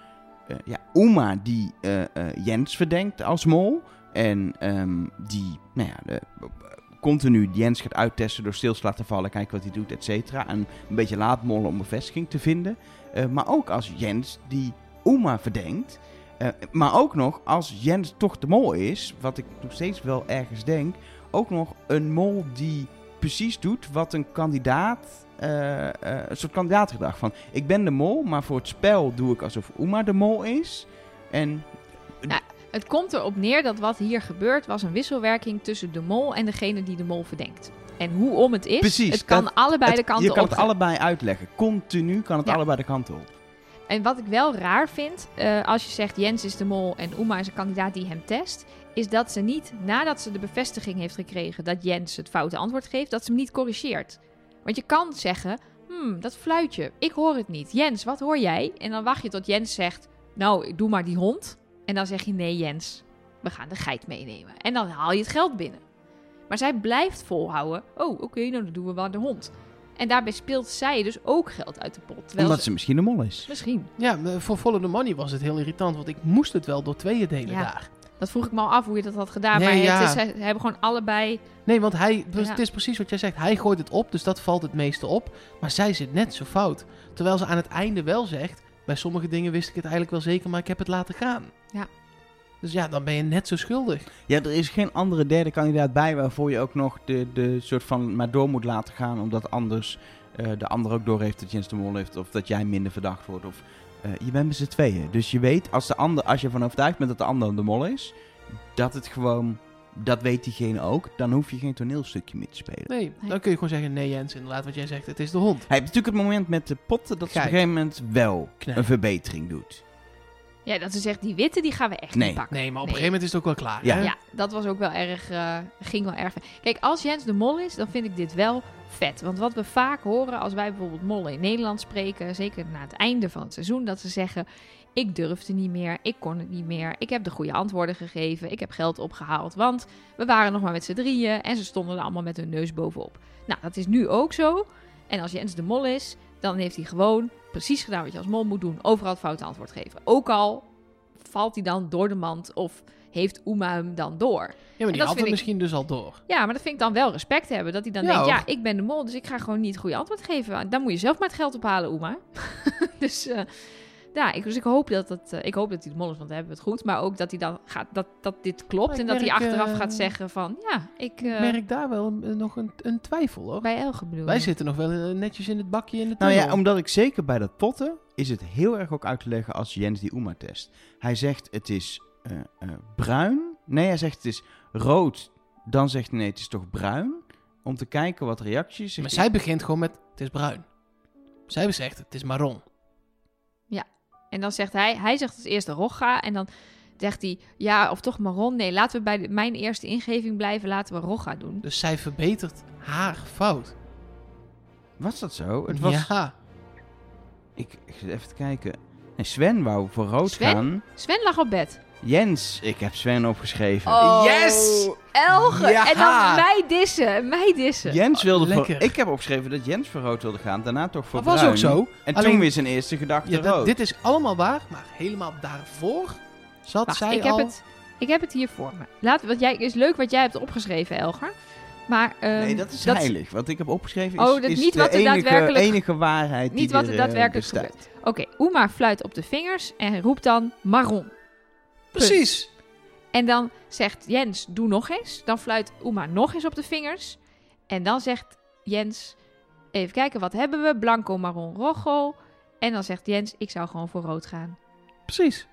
B: eh, ja, Uma die eh, eh, Jens verdenkt als mol. En ehm, die nou ja, de- continu Jens gaat uittesten door stil te laten vallen, kijken wat hij doet, et cetera. En een beetje laat mollen om bevestiging te vinden. Eh, maar ook als Jens die Uma verdenkt. Eh, maar ook nog, als Jens toch de mol is, wat ik nog steeds wel ergens denk, ook nog een mol die precies doet wat een kandidaat, eh, eh, een soort kandidaatgedrag van, ik ben de mol, maar voor het spel doe ik alsof Uma de mol is. En
A: Het komt erop neer dat wat hier gebeurt was een wisselwerking tussen de mol en degene die de mol verdenkt. En hoe om het is,
B: Precies,
A: het kan
B: dat-
A: allebei
B: het-
A: de kanten
B: je kan
A: op.
B: het allebei uitleggen. Continu kan het
A: Ja.
B: allebei de kant op.
A: En wat ik wel raar vind, eh, als je zegt Jens is de mol en Oema is een kandidaat die hem test, is dat ze niet, nadat ze de bevestiging heeft gekregen dat Jens het foute antwoord geeft, dat ze hem niet corrigeert. Want je kan zeggen, hmm, hmm, dat fluitje, ik hoor het niet. Jens, wat hoor jij? En dan wacht je tot Jens zegt, nou, ik doe maar die hond. En dan zeg je, nee Jens, we gaan de geit meenemen. En dan haal je het geld binnen. Maar zij blijft volhouden, oh, oké, nou, dan doen we maar de hond. En daarbij speelt zij dus ook geld uit de pot. terwijl
B: Omdat ze misschien een mol is.
A: Misschien.
C: Ja, maar voor Follow the Money was het heel irritant, want ik moest het wel door tweeën delen
A: Ja.
C: daar.
A: Dat vroeg ik me al af hoe je dat had gedaan.
C: Nee,
A: maar
C: ja.
A: het is, ze hebben gewoon allebei...
C: Nee, want hij,
A: Ja.
C: het is precies wat jij zegt. Hij gooit het op, dus dat valt het meeste op. Maar zij zit net zo fout. Terwijl ze aan het einde wel zegt, bij sommige dingen wist ik het eigenlijk wel zeker, maar ik heb het laten gaan.
A: Ja.
C: Dus ja, dan ben je net zo schuldig.
B: Ja, er is geen andere derde kandidaat bij waarvoor je ook nog de, de soort van maar door moet laten gaan. Omdat anders eh, de ander ook door heeft dat Jens de Mol heeft. Of dat jij minder verdacht wordt. Of eh, je bent met z'n tweeën. Dus je weet, als, de ander, als je ervan overtuigd bent dat de ander de Mol is, dat het gewoon, dat weet diegene ook. Dan hoef je geen toneelstukje meer te spelen.
C: Nee,
A: Nee.
C: dan kun je gewoon zeggen, nee Jens, inderdaad wat jij zegt, het is de hond.
B: Hij heeft natuurlijk het moment met de potten dat ze op
C: Kijk.
B: een gegeven moment wel
C: Knijp.
B: een verbetering doet.
A: Ja, dat ze zegt, die witte, die gaan we echt
B: Nee.
A: niet pakken.
C: Nee, maar op
A: Nee.
C: een gegeven moment is het ook wel klaar.
B: Ja.
C: hè?
A: Ja, dat was ook wel erg, eh, ging wel erg ver. Kijk, als Jens de Mol is, dan vind ik dit wel vet. Want wat we vaak horen als wij bijvoorbeeld mollen in Nederland spreken, zeker na het einde van het seizoen, dat ze zeggen, ik durfde niet meer, ik kon het niet meer, ik heb de goede antwoorden gegeven, ik heb geld opgehaald, want we waren nog maar met z'n drieën en ze stonden er allemaal met hun neus bovenop. Nou, dat is nu ook zo. En als Jens de Mol is, dan heeft hij gewoon precies gedaan wat je als mol moet doen, overal het foute antwoord geven. Ook al valt hij dan door de mand of heeft Uma hem dan door.
C: Ja, maar die
A: dat
C: had
A: vind
C: het
A: ik-
C: misschien dus al door.
A: Ja, maar dat vind ik dan wel respect hebben. Dat hij dan
C: Ja,
A: denkt,
C: hoor.
A: ja, ik ben de mol, dus ik ga gewoon niet het goede antwoord geven. Dan moet je zelf maar het geld ophalen, Oema. *laughs* dus eh, ja, ik, dus ik hoop dat, dat, eh, ik hoop dat hij de mol is, want dan hebben we het goed. Maar ook dat, hij dan gaat, dat, dat dit klopt
C: Maar ik
A: en dat hij
C: merk,
A: achteraf
C: eh,
A: gaat zeggen van, ja, ik... eh,
C: Ik merk daar wel een- nog een, een twijfel hoor.
A: bij Elge bedoel
C: Wij
A: je.
C: zitten nog wel eh, netjes in het bakje in de
B: Nou
C: tunnel.
B: ja, omdat ik zeker bij dat potten is het heel erg ook uit te leggen als Jens die Oema test. Hij zegt het is eh, eh, bruin. Nee, hij zegt het is rood. Dan zegt hij nee, het is toch bruin. Om te kijken wat reacties.
C: Maar zij begint gewoon met, het is bruin. Zij zegt, het is marron.
A: En dan zegt hij, hij zegt als eerste Rogga. En dan zegt hij, ja, of toch Maron. Nee, laten we bij de- mijn eerste ingeving blijven. Laten we Rogga doen.
C: Dus zij verbetert haar fout.
B: Was dat zo? Het was.
C: Ja,
B: Ik, ik zit even te kijken. Nee, Sven wou voor rood
A: Sven?
B: gaan.
A: Sven lag op bed.
B: Jens, ik heb Sven opgeschreven.
C: Oh. Yes!
A: Oh, Elge!
C: Ja!
A: En dan mij dissen, mij dissen.
B: Jens wilde voor.
C: lekker.
B: Ik heb opgeschreven dat Jens voor rood wilde gaan. Daarna toch voor
C: dat was
B: bruin.
C: ook zo.
B: En
C: Alleen-
B: toen weer zijn eerste gedachte
C: Ja, dat-
B: rood.
C: dit is allemaal waar, maar helemaal daarvoor zat
A: Wacht,
C: zij
A: ik,
C: al...
A: heb het, ik heb het hier voor me. Laat, want jij, is leuk wat jij hebt opgeschreven, Elger. Maar ehm,
B: nee, dat is heilig. Wat ik heb opgeschreven is,
A: Oh, dat
B: is
A: niet
B: de
A: wat er
B: enige,
A: daadwerkelijk-
B: enige waarheid die
A: niet wat er
B: eh,
A: daadwerkelijk
B: bestaat.
A: gebeurt. Oké, Uma fluit op de vingers en roept dan Maron.
C: Precies.
A: En dan zegt Jens, doe nog eens. Dan fluit Uma nog eens op de vingers. En dan zegt Jens, even kijken, wat hebben we? Blanco, marron, rojo. En dan zegt Jens, ik zou gewoon voor rood gaan.
C: Precies.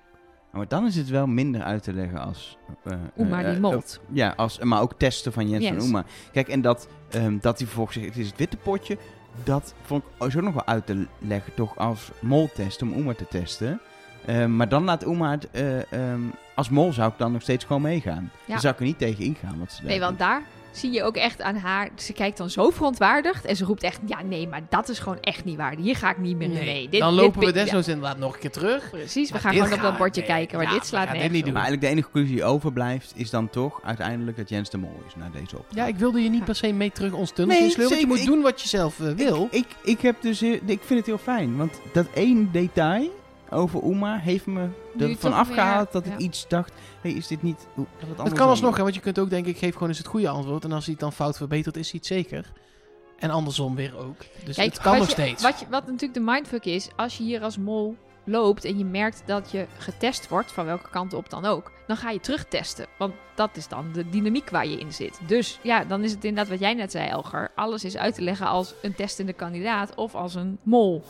B: Nou, Maar dan is het wel minder uit te leggen als... eh,
A: Uma
B: eh,
A: die
B: eh,
A: molt.
B: eh, ja, als, maar ook testen van Jens
A: Yes.
B: en Oema. Kijk, en dat, ehm, dat hij vervolgens zegt, het is het witte potje. Dat vond ik zo nog wel uit te leggen, toch als moltest, om Oema te testen. Ehm, maar dan laat Oema het... eh, ehm, als mol zou ik dan nog steeds gewoon meegaan.
A: Ja.
B: Dan zou ik er niet tegen ingaan. Wat ze daar
A: Nee, want daar zie je ook echt aan haar. Ze kijkt dan zo verontwaardigd. En ze roept echt: Ja, nee, maar dat is gewoon echt niet waar. Hier ga ik niet meer in mee. Dit,
C: dan
A: dit
C: lopen we
A: ben-
C: desnoods inderdaad nog een keer terug.
A: Ja, precies, we
C: Maar
A: gaan
C: dit
A: gewoon op dat
C: gaan-
A: bordje
C: nee,
A: kijken. Maar
C: ja,
A: dit
C: we
A: slaat
C: gaan dit
A: nergens
C: niet
A: op.
C: doen.
B: Maar eigenlijk de enige conclusie die overblijft is dan toch uiteindelijk dat Jens de mol is na deze opdracht.
C: Ja, ik wilde je niet per se mee terug ons tunnel
B: Nee,
C: insleuren. want
B: zeker.
C: Je moet
B: Ik-
C: doen wat je zelf eh, wil.
B: Ik, ik, ik heb dus, heel- ik vind het heel fijn, want dat één detail over Uma heeft me
A: Nu
B: ervan
A: toch
B: afgehaald
A: weer,
B: dat ik
A: ja.
B: iets dacht, hey, is dit niet... hoe- Dat, het
C: Dat
B: anders
C: kan
B: dan-
C: alsnog, hè, want je kunt ook denken, ik geef gewoon eens het goede antwoord. En als hij het dan fout verbetert, is hij het zeker. En andersom weer ook. Dus
A: Kijk,
C: het kan
A: wat
C: nog
A: je-
C: steeds.
A: Wat, je, wat natuurlijk de mindfuck is, als je hier als mol loopt en je merkt dat je getest wordt, van welke kant op dan ook, dan ga je terugtesten. Want dat is dan de dynamiek waar je in zit. Dus ja, dan is het inderdaad wat jij net zei, Elger. Alles is uit te leggen als een testende kandidaat of als een mol.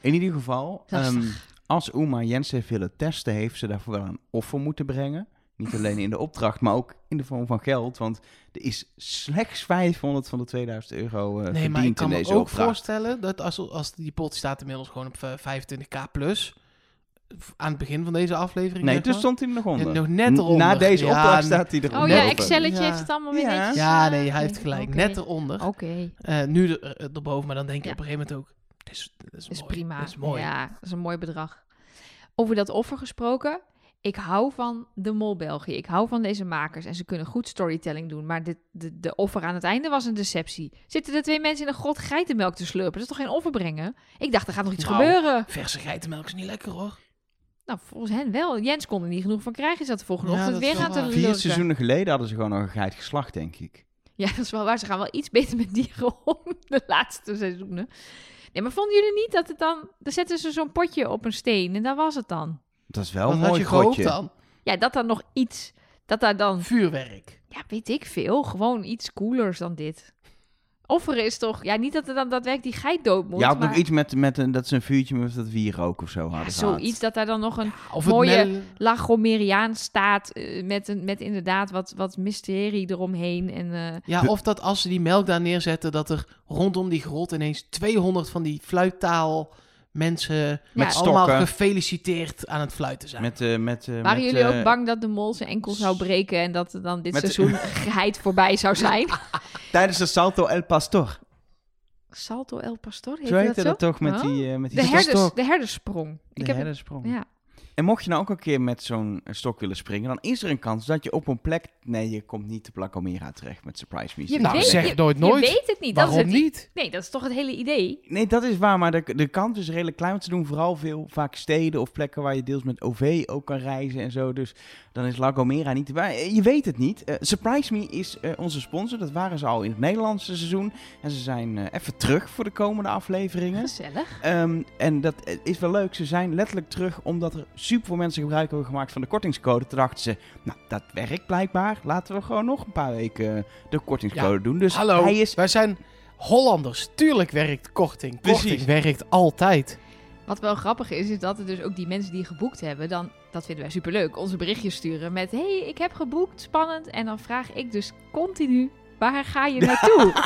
B: In ieder geval,
A: Lastig.
B: ehm, als Uma Jens heeft willen testen, heeft ze daarvoor wel een offer moeten brengen. Niet alleen
C: *laughs*
B: in de opdracht, maar ook in de vorm van geld, want er is slechts 500 van de 2000 euro eh
C: Nee, maar ik
B: verdiend
C: kan
B: in
C: me
B: deze
C: ook
B: opdracht.
C: voorstellen dat als, als die pot staat inmiddels gewoon op eh, 25k plus, aan het begin van deze aflevering.
B: Nee,
C: zeg
B: toen
C: maar.
B: stond hij er nog onder.
C: nog net eronder.
B: Na deze
C: Ja,
B: opdracht staat hij
A: Oh
B: eronder.
A: ja,
C: Net-
A: Excelletje
C: Ja.
A: heeft het allemaal weer
B: Ja.
A: netjes.
C: Ja,
A: eh,
C: nee, hij heeft gelijk.
A: oké.
C: Net eronder.
A: Oké,
C: Eh, nu er, eh, erboven, maar dan denk je
A: Ja.
C: op een gegeven moment ook... Dat is, dit is,
A: dat is
C: mooi.
A: prima.
C: Dit is mooi.
A: Ja, dat is een mooi bedrag. Over dat offer gesproken. Ik hou van de Mol België. Ik hou van deze makers. En ze kunnen goed storytelling doen. Maar de, de, de offer aan het einde was een deceptie. Zitten er twee mensen in een grot geitenmelk te slurpen? Dat is toch geen offer brengen? Ik dacht, er gaat nog iets
C: Nou.
A: gebeuren.
C: Verse geitenmelk is niet lekker hoor.
A: Nou, volgens hen wel. Jens kon er niet genoeg van krijgen. Ze zat de volgende
C: Ja,
A: ochtend
C: dat is
A: weer
C: wel
A: aan te
C: waar.
B: Vier
A: lurken.
B: seizoenen geleden hadden ze gewoon nog een geit geslacht, denk ik.
A: Ja, dat is wel waar. Ze gaan wel iets beter met dieren *laughs* om de laatste seizoenen. Nee, maar vonden jullie niet dat het dan... Dan zetten ze zo'n potje op een steen en daar was het dan.
B: Dat is wel
C: Wat
B: een
C: had
B: mooi
C: je gehoopt
B: grotje.
C: dan?
A: Ja, dat daar nog iets... Dat daar dan,
C: Vuurwerk.
A: ja, weet ik veel, gewoon iets coolers dan dit. Offeren is toch... Ja, niet dat er dan daadwerkelijk die geit dood moet,
B: Je had
A: maar...
B: nog iets met, met een, dat ze een vuurtje met dat wierook of zo hadden
A: ja,
B: gehad.
A: zoiets dat daar dan nog een
C: Of
A: Mooie-
C: het mel-
A: Lagomeriaan staat eh, met, een, met inderdaad wat, wat mysterie eromheen. En, eh,
C: Ja,
B: De-
C: of dat als ze die melk daar neerzetten, dat er rondom die grot ineens 200 van die fluittaal mensen
B: Met
A: Ja,
C: allemaal
B: stokken.
C: gefeliciteerd aan het fluiten zijn.
B: Met, eh met, eh,
A: Waren
B: met,
A: jullie
B: eh,
A: ook bang dat de mol zijn enkel zou breken en dat er dan dit
B: Met- *laughs*
A: seizoen geheid voorbij zou zijn?
B: Tijdens de Salto El Pastor.
A: Salto El Pastor, heet
B: Zo
A: dat
B: heette
A: zo?
B: dat toch met
A: Oh.
B: die, eh, met die
A: De, herders,
B: stok.
A: de herderssprong.
B: De
A: Ik heb
B: herdersprong.
A: ja.
B: En mocht je nou ook een keer met zo'n eh, stok willen springen, dan is er een kans dat je op een plek... Nee, je komt niet te Placomera terecht met Surprise Meets.
A: Je
C: Nou,
A: weet,
C: zeg
A: je,
C: nooit
A: je
C: nooit.
A: weet het niet. dat
C: Waarom
A: is het,
C: niet?
A: Nee, dat is toch het hele idee?
B: Nee, dat is waar, maar de, de kans is redelijk klein. Want ze doen vooral veel, vaak steden of plekken waar je deels met OV ook kan reizen en zo. Dus dan is La Gomera niet erbij. Eh, Je weet het niet. Eh, Surprise Me is eh, onze sponsor. Dat waren ze al in het Nederlandse seizoen. En ze zijn eh, even terug voor de komende afleveringen.
A: *laughs* Gezellig.
B: Ehm, en dat eh, is wel leuk. Ze zijn letterlijk terug omdat er super veel mensen gebruik hebben gemaakt van de kortingscode. Toen dachten ze, nou dat werkt blijkbaar. Laten we gewoon nog een paar weken eh, de kortingscode doen. Dus
C: Hallo,
B: hij is
C: wij zijn Hollanders. Tuurlijk werkt korting.
B: Precies.
C: Korting werkt altijd.
A: Wat wel grappig is, is dat er dus ook die mensen die geboekt hebben, dan, dat vinden wij superleuk, onze berichtjes sturen met hey, ik heb geboekt, spannend. En dan vraag ik dus continu, waar ga je naartoe?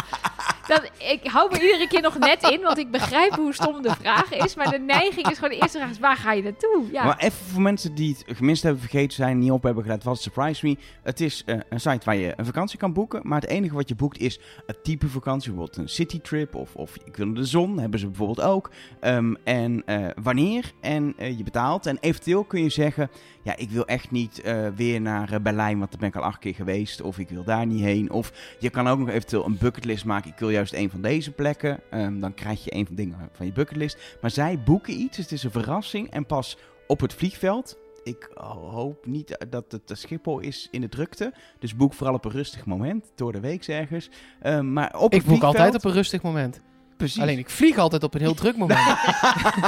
A: Dat, ik hou me iedere keer nog net in, want ik begrijp hoe stom de vraag is. Maar de neiging is gewoon de eerste vraag is, waar ga je naartoe? Ja.
B: Maar even voor mensen die het gemist hebben, vergeten zijn, niet op hebben gelet, wat is Surprise Me? Het is eh, een site waar je een vakantie kan boeken, maar het enige wat je boekt is het type vakantie, bijvoorbeeld een citytrip of, of ik wil naar de zon, hebben ze bijvoorbeeld ook. Ehm, en eh, wanneer en eh, je betaalt. En eventueel kun je zeggen, ja, ik wil echt niet eh, weer naar eh, Berlijn, want daar ben ik al acht keer geweest, of ik wil daar niet heen. Of je kan ook nog eventueel een bucketlist maken, ik wil juist een van deze plekken. Ehm, dan krijg je een van de dingen van je bucketlist. Maar zij boeken iets, dus het is een verrassing en pas op het vliegveld. Ik hoop niet dat het eh, Schiphol is in de drukte. Dus boek vooral op een rustig moment. Door de week ergens. Eh, maar op
C: Ik
B: het
C: boek
B: vliegveld,
C: altijd op een rustig moment.
B: Precies.
C: Alleen ik vlieg altijd op een heel druk moment.
B: *laughs*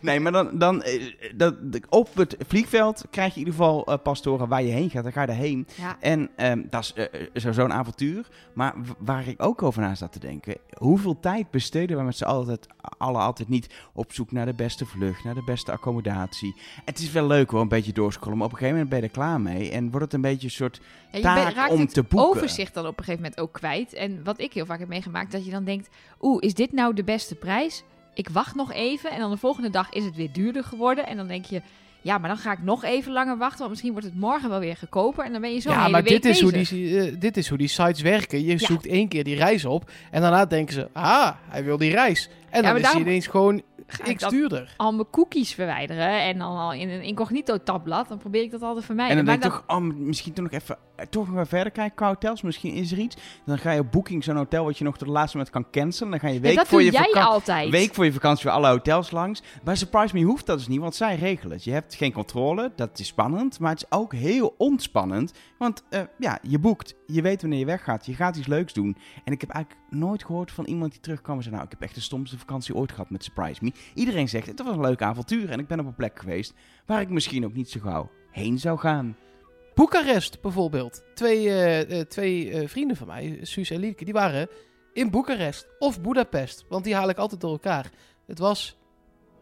B: Nee, maar dan, dan eh, dat, de- op het vliegveld krijg je in ieder geval eh, pas te horen waar je heen gaat. Dan ga je daarheen.
A: Ja.
B: En ehm, dat is eh, eh, zo- zo'n avontuur. Maar w- waar ik ook over na zat te denken. Hoeveel tijd besteden wij met z'n altijd, allen altijd niet op zoek naar de beste vlucht, naar de beste accommodatie. Het is wel leuk hoor, een beetje doorscrollen. Maar op een gegeven moment ben je er klaar mee. En wordt het een beetje een soort
A: Ja, je
B: taak
A: bent- raakt
B: om
A: het
B: te boeken.
A: overzicht dan op een gegeven moment ook kwijt. En wat ik heel vaak heb meegemaakt, dat je dan denkt... Oeh, is dit nou de beste prijs? Ik wacht nog even en dan de volgende dag is het weer duurder geworden. En dan denk je, ja, maar dan ga ik nog even langer wachten... want misschien wordt het morgen wel weer goedkoper. En dan ben je zo een
C: ja,
A: hele
C: maar
A: week
C: dit is, hoe
A: bezig.
C: die, eh, dit is hoe die sites werken. Je
A: Ja.
C: zoekt één keer die reis op en daarna denken ze, ah, hij wil die reis.
A: maar
C: En dan is hij
A: daarom-
C: ineens gewoon
A: Ga ik
C: x
A: dat
C: duurder.
A: al mijn cookies verwijderen en dan al in een incognito tabblad... dan probeer ik dat altijd te
B: en
A: vermijden.
B: dan denk
A: Maar
B: je toch, oh, misschien toch nog even, eh, toch nog even verder kijken qua hotels. Misschien is er iets. Dan ga je op Booking zo'n hotel wat je nog tot het laatste moment kan cancelen. Dan ga je
A: Ja,
B: week
A: dat
B: voor
A: doe
B: je
A: jij
B: vakantie.
A: altijd.
B: Week voor je vakantie weer alle hotels langs. Bij Surprise Me hoeft dat dus niet, want zij regelen het. Je hebt geen controle, dat is spannend. Maar het is ook heel ontspannend. Want eh, ja, je boekt, je weet wanneer je weggaat, je gaat iets leuks doen. En ik heb eigenlijk nooit gehoord van iemand die terugkwam en zei... Nou, ik heb echt de stomste vakantie ooit gehad met Surprise Me. Iedereen zegt, het was een leuk avontuur en ik ben op een plek geweest... waar ik misschien ook niet zo gauw heen zou gaan.
C: Boekarest bijvoorbeeld. Twee, eh, eh, twee eh, vrienden van mij, Suus en Lieke, die waren in Boekarest of Budapest. Want die haal ik altijd door elkaar. Het was,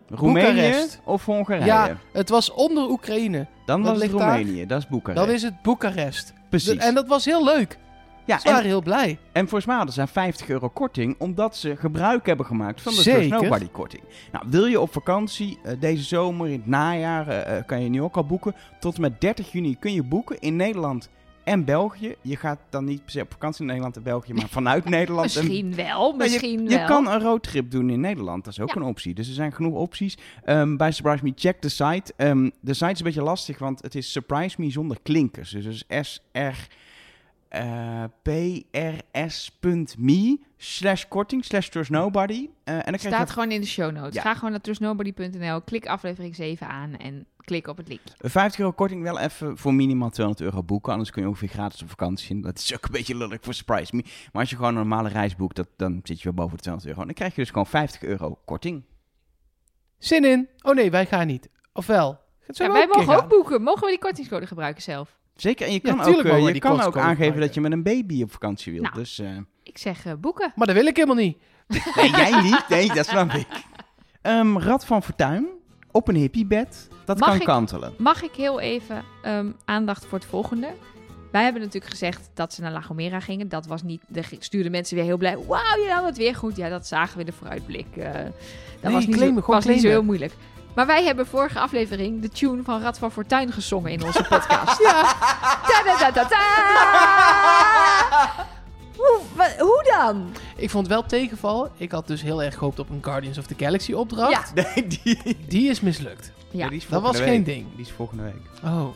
B: Roemenië
C: Boekarest.
B: of Hongarije?
C: ja, het was onder Oekraïne.
B: Dan
C: dat
B: was het
C: ligt daar.
B: Roemenië, dat is Boekarest.
C: Dan is het Boekarest.
B: Precies.
C: En dat was heel leuk.
B: Ja,
C: Ze waren
B: en,
C: heel blij.
B: en volgens mij hadden ze daar 50 euro korting, omdat ze gebruik hebben gemaakt van de
C: Zeker.
B: Trust Nobody korting. Nou, wil je op vakantie eh, deze zomer, in het najaar, eh, eh, kan je nu ook al boeken. Tot en met 30 juni kun je boeken in Nederland en België. Je gaat dan niet per se op vakantie in Nederland en België, maar vanuit Nederland en
A: Misschien wel,
B: Maar
A: misschien
B: Nou, je,
A: wel.
B: je kan een roadtrip doen in Nederland. Dat is ook
A: Ja.
B: een optie. Dus er zijn genoeg opties. Ehm, bij Surprise Me, check de site. Ehm, de site is een beetje lastig, want het is Surprise Me zonder klinkers. Dus het is eh, s-r-p-r-s.me slash korting slash trust nobody. Eh, en dan krijg
A: Staat
B: je
A: gewoon in de show notes.
B: Ja.
A: Ga gewoon naar trustnobody.nl, klik aflevering 7 aan en klik op het linkje.
B: 50 euro korting wel even voor minimaal 200 euro boeken. Anders kun je ongeveer gratis op vakantie. En dat is ook een beetje lullig voor Surprise Me. Maar als je gewoon een normale reis boekt, dat, dan zit je wel boven de 200 euro. En dan krijg je dus gewoon 50 euro korting.
C: Zin in? Oh nee, wij gaan niet. Ofwel.
A: Ja, wij mogen ook boeken. Mogen we die kortingscode gebruiken zelf?
B: Zeker, en je
C: Ja,
B: kan ook,
C: tuurlijk
B: eh,
C: mogen we
B: je
C: die
B: kan
C: kost
B: ook
C: komen
B: aangeven
C: gebruiken.
B: dat je met een baby op vakantie wilt.
A: Nou.
B: Dus eh,
A: Ik zeg eh, boeken.
C: Maar dat wil ik helemaal niet.
B: nee, jij niet. Nee, dat snap
A: *laughs*
B: ik. Ehm, Rad van Fortuin op een hippiebed. Dat
A: Mag
B: kan
A: ik-
B: kantelen. *laughs*
A: Mag ik heel even ehm, aandacht voor het volgende? Wij hebben natuurlijk gezegd dat ze naar La Gomera gingen. Dat was niet. De stuurden mensen weer heel blij. Wauw, je had het weer goed. Ja, dat zagen we in de vooruitblik. Eh, dat
C: Nee,
A: was, niet,
C: claimen,
A: zo,
C: gewoon
A: was niet zo
C: claimen.
A: heel moeilijk. Maar wij hebben vorige aflevering de tune van Rad van Fortuin gezongen in onze *laughs* podcast. Ta -da -da -da -da! *laughs* Hoe, wa- hoe dan?
C: Ik vond wel tegenval. Ik had dus heel erg gehoopt op een Guardians of the Galaxy opdracht.
A: Ja.
B: Nee, die,
C: Die is mislukt.
A: Ja,
B: die is
C: Dat
B: volgende
C: was geen
B: week.
C: ding.
B: Die is volgende week.
C: Oh,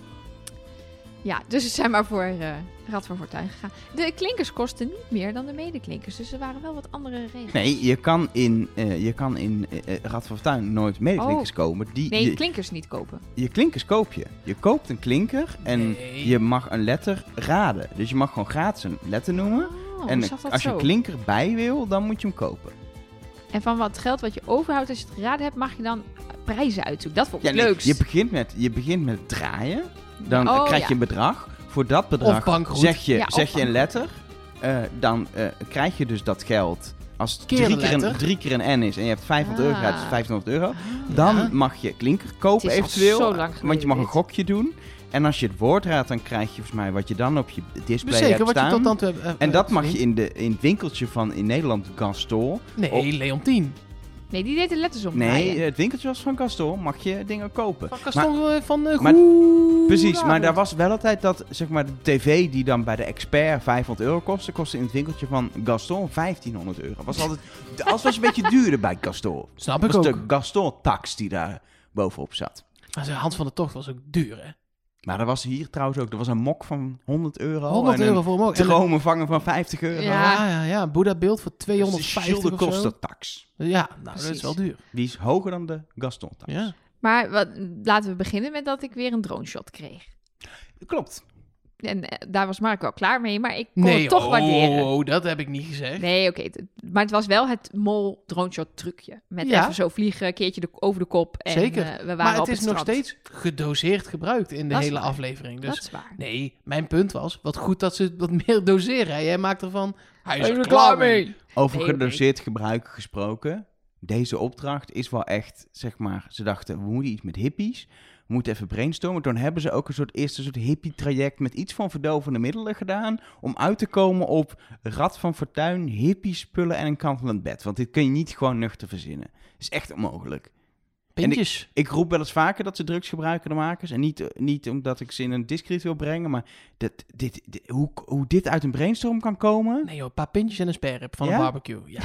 A: Ja, dus ze zijn maar voor eh, Rad van Fortuin gegaan. De klinkers kosten niet meer dan de medeklinkers. Dus er waren wel wat andere regels.
B: Nee, je kan in, eh, je kan in eh, eh, Rad van Fortuin nooit medeklinkers
A: Oh.
B: komen. Die,
A: Nee,
B: je,
A: klinkers niet kopen.
B: je klinkers koop je. Je koopt een klinker en
C: Nee.
B: je mag een letter raden. Dus je mag gewoon gratis een letter noemen.
A: Oh,
B: en
A: hoe zat dat
B: als je
A: zo?
B: een klinker bij wil, dan moet je hem kopen.
A: En van wat geld wat je overhoudt als je het geraden hebt, mag je dan eh, prijzen uitzoeken. Dat vond ik
B: Ja,
A: het
B: nee,
A: leukst.
B: Je begint, met, je begint met draaien. Dan
A: Oh,
B: krijg
A: ja.
B: je een bedrag. Voor dat bedrag
C: Of bankroet.
B: zeg je,
A: Ja, of
B: zeg je een
A: bankroet.
B: letter. Eh, dan eh, krijg je dus dat geld. Als het
C: Keer
B: drie
C: een
B: keer, een,
C: letter.
B: drie keer een N is en je hebt 500 euro gratis,
A: Ah.
B: 1500 euro.
A: Ah.
B: Dan
C: Ja.
B: mag je klinker kopen
A: Het is al
B: eventueel.
A: zo lang
B: want je
A: geleden
B: mag een
A: dit.
B: gokje doen. En als je het woord raadt, dan krijg je volgens mij wat je dan op je display
C: zeker
B: hebt
C: wat je
B: staan.
C: tot dan toe hebt. eh,
B: en dat
C: eh,
B: mag je in, de, in het winkeltje van in Nederland Gaston.
C: Nee,
B: op-
C: Leontien.
A: Nee, die deed de letters om.
C: Ah,
B: Nee, eh. het winkeltje was van Gaston. Mag je dingen kopen.
C: Van
B: Maar-
C: Gaston eh, van eh,
B: maar-
C: Goedenavond.
B: Precies, maar daar was wel altijd dat, zeg maar, de tv die dan bij de expert 500 euro kostte, kostte in het winkeltje van Gaston 1500 euro. Was altijd, de as was een beetje duurder bij Gaston.
C: Snap
B: Dat
C: ik
B: was
C: ook.
B: de Gaston-tax die daar bovenop zat.
C: Maar zijn hand van de tocht was ook duur, hè?
B: Maar er was hier trouwens ook, er was een mok van 100 euro.
C: 100
B: Oh, en
C: euro voor hem ook.
B: Een
C: En een-
B: dromenvanger van 50 euro.
A: Ja,
C: Ja, ja, ja. Een Boeddha-beeld voor
B: Dus de
C: 250
B: Gilde
C: of zo.
B: kostertax.
C: Ja, nou, dat
A: Precies.
C: is wel duur.
B: Die is hoger dan de Gaston-tax.
C: Ja.
A: Maar wat, laten we beginnen met dat ik weer een drone shot kreeg.
B: Klopt.
A: En eh, daar was Mark wel klaar mee, maar ik kon
C: Nee,
A: het toch
C: oh,
A: waarderen.
C: oh, dat heb ik niet gezegd.
A: Nee, oké. het- maar het was wel het mol drone shot trucje. Met
C: Ja.
A: even zo vliegen, een keertje de, over de kop. En,
C: Zeker.
A: eh, we waren
C: maar
A: op
C: het is nog
A: strand.
C: steeds gedoseerd gebruikt in de
A: Dat is
C: hele
A: waar.
C: aflevering. Dus
A: Dat is waar.
C: nee, mijn punt was, wat goed dat ze wat meer doseren. hè. Jij maakt ervan, hij is
A: Hij is
C: er klaar mee.
B: Over
A: Nee, oké.
B: gedoseerd gebruik gesproken. Deze opdracht is wel echt, zeg maar, ze dachten we moeten iets met hippies. We moeten even brainstormen. Toen hebben ze ook een soort eerste soort hippie traject met iets van verdovende middelen gedaan. Om uit te komen op rad van fortuin, hippie spullen en een kantelend bed. Want dit kun je niet gewoon nuchter verzinnen. is echt onmogelijk.
C: Pintjes.
B: Ik roep wel eens vaker dat ze drugs gebruiken, de makers. En niet, eh, niet omdat ik ze in een discreet wil brengen. Maar dat, dit, dit- hoe, hoe dit uit een brainstorm kan komen.
C: Nee joh, een paar pintjes en een sperrip van
B: Ja?
C: een barbecue. Ja,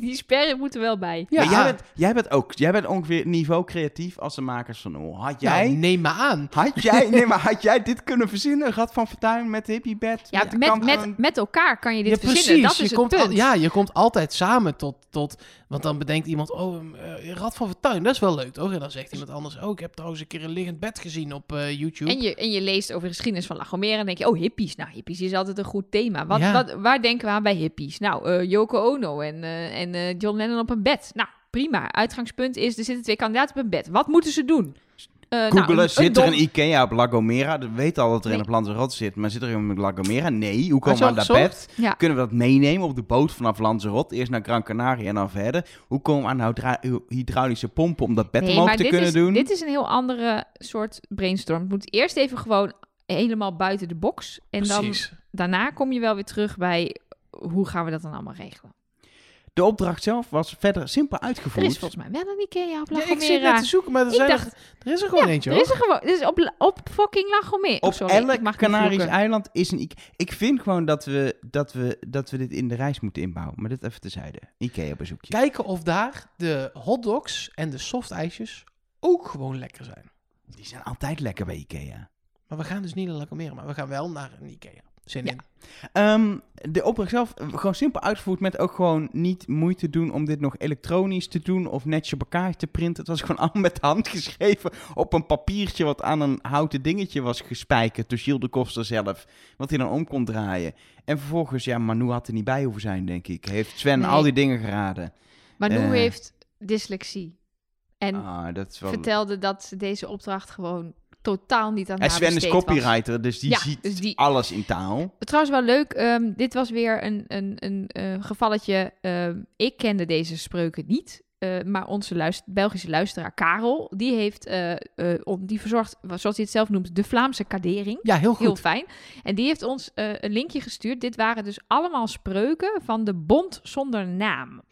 A: Die sperren moeten wel bij.
C: ja.
B: Maar jij bent, jij bent ook, jij bent ongeveer niveau creatief als de makers van Oel. Had jij,
C: Nou, neem me aan.
B: had jij, nee, maar had jij dit kunnen verzinnen? Rad van Fortuin met hippie bed.
A: Ja, met, met, met elkaar kan je dit
C: Ja,
A: verzinnen.
C: precies.
A: Dat is
C: je
A: het
C: komt al-
A: punt.
C: ja, je komt altijd samen tot, tot... Want dan bedenkt iemand, oh, een, eh, Rad van Fortuin, dat is wel leuk, toch? En dan zegt iemand anders, oh, ik heb trouwens een keer een liggend bed gezien op eh, YouTube.
A: En je, en je leest over de geschiedenis van La Gomera en denk je, oh hippies, nou hippies is altijd een goed thema. Wat,
C: Ja.
A: wat, waar denken we aan bij hippies? Nou, eh Yoko Ono en, eh, en eh, John Lennon op een bed. Nou, prima. Uitgangspunt is, er zitten twee kandidaten op een bed. Wat moeten ze doen? Eh, nou,
B: Googelen,
A: een- een
B: zit er
A: dom-
B: een Ikea op La Gomera? We weten al dat er in
A: Nee. Ah,
B: een Lanzarote zit, maar zit er een op La Gomera? Nee, hoe komen
C: Had
B: we
C: je
B: aan dat
C: al gezocht?
B: bed?
A: Ja.
B: Kunnen we dat meenemen op de boot vanaf Lanzarote? Eerst naar Gran Canaria en dan verder. Hoe komen we aan de hydra- hydraulische pompen om dat bed
A: Nee,
B: omhoog
A: maar
B: te
A: dit
B: kunnen
A: is,
B: doen?
A: Dit is een heel andere soort brainstorm. Het moet eerst even gewoon helemaal buiten de box. En dan
C: Precies.
A: daarna kom je wel weer terug bij hoe gaan we dat dan allemaal regelen.
B: De opdracht zelf was verder simpel
A: Er
B: uitgevoerd.
A: is volgens mij wel een IKEA op La
C: Ja, ik zit
A: Gomera.
C: net te zoeken, maar er,
A: eh, Ik
C: zijn
A: dacht-
C: nog- er is er gewoon eentje,
A: Er
C: hoor.
A: is er gewoon. Dus op, op fucking La Gomera.
B: Op
A: Oh, Sorry, ik mag
B: elk
A: niet
B: Canarisch
A: vloeken.
B: eiland is een IKEA. Ik vind gewoon dat we, dat, we, dat we dit in de reis moeten inbouwen. Maar dit even tezijde. IKEA-bezoekje.
C: Kijken of daar de hotdogs en de softijsjes ook gewoon lekker zijn.
B: Die zijn altijd lekker bij E. IKEA.
C: Maar we gaan dus niet naar La Camera, maar we gaan wel naar een Ikea. Zin
A: Ja.
C: in.
B: Ehm, de opdracht zelf eh, gewoon simpel uitgevoerd met ook gewoon niet moeite doen om dit nog elektronisch te doen of netjes op elkaar te printen. Het was gewoon *laughs* allemaal met de hand geschreven op een papiertje wat aan een houten dingetje was gespijkerd door Gilles de Koster zelf, wat hij dan om kon draaien. En vervolgens, ja, Manu had er niet bij hoeven zijn, denk ik. Heeft Sven
A: Nee.
B: al die dingen geraden.
A: Maar Noe
B: Eh.
A: heeft dyslexie. En
B: ah, dat is wel...
A: vertelde dat ze deze opdracht gewoon totaal niet aan
B: en
A: haar
B: Sven is
A: besteed was.
B: copywriter, dus die
A: Ja,
B: ziet
A: dus die-
B: alles in taal.
A: Eh, Trouwens wel leuk, ehm, dit was weer een, een, een eh, gevalletje. Ehm, ik kende deze spreuken niet, eh, maar onze luister- Belgische luisteraar Karel, die heeft, eh, eh, on- die verzorgt, zoals hij het zelf noemt, de Vlaamse kadering.
C: Ja, heel goed.
A: Heel fijn. En die heeft ons eh, een linkje gestuurd. Dit waren dus allemaal spreuken van de Bond zonder naam.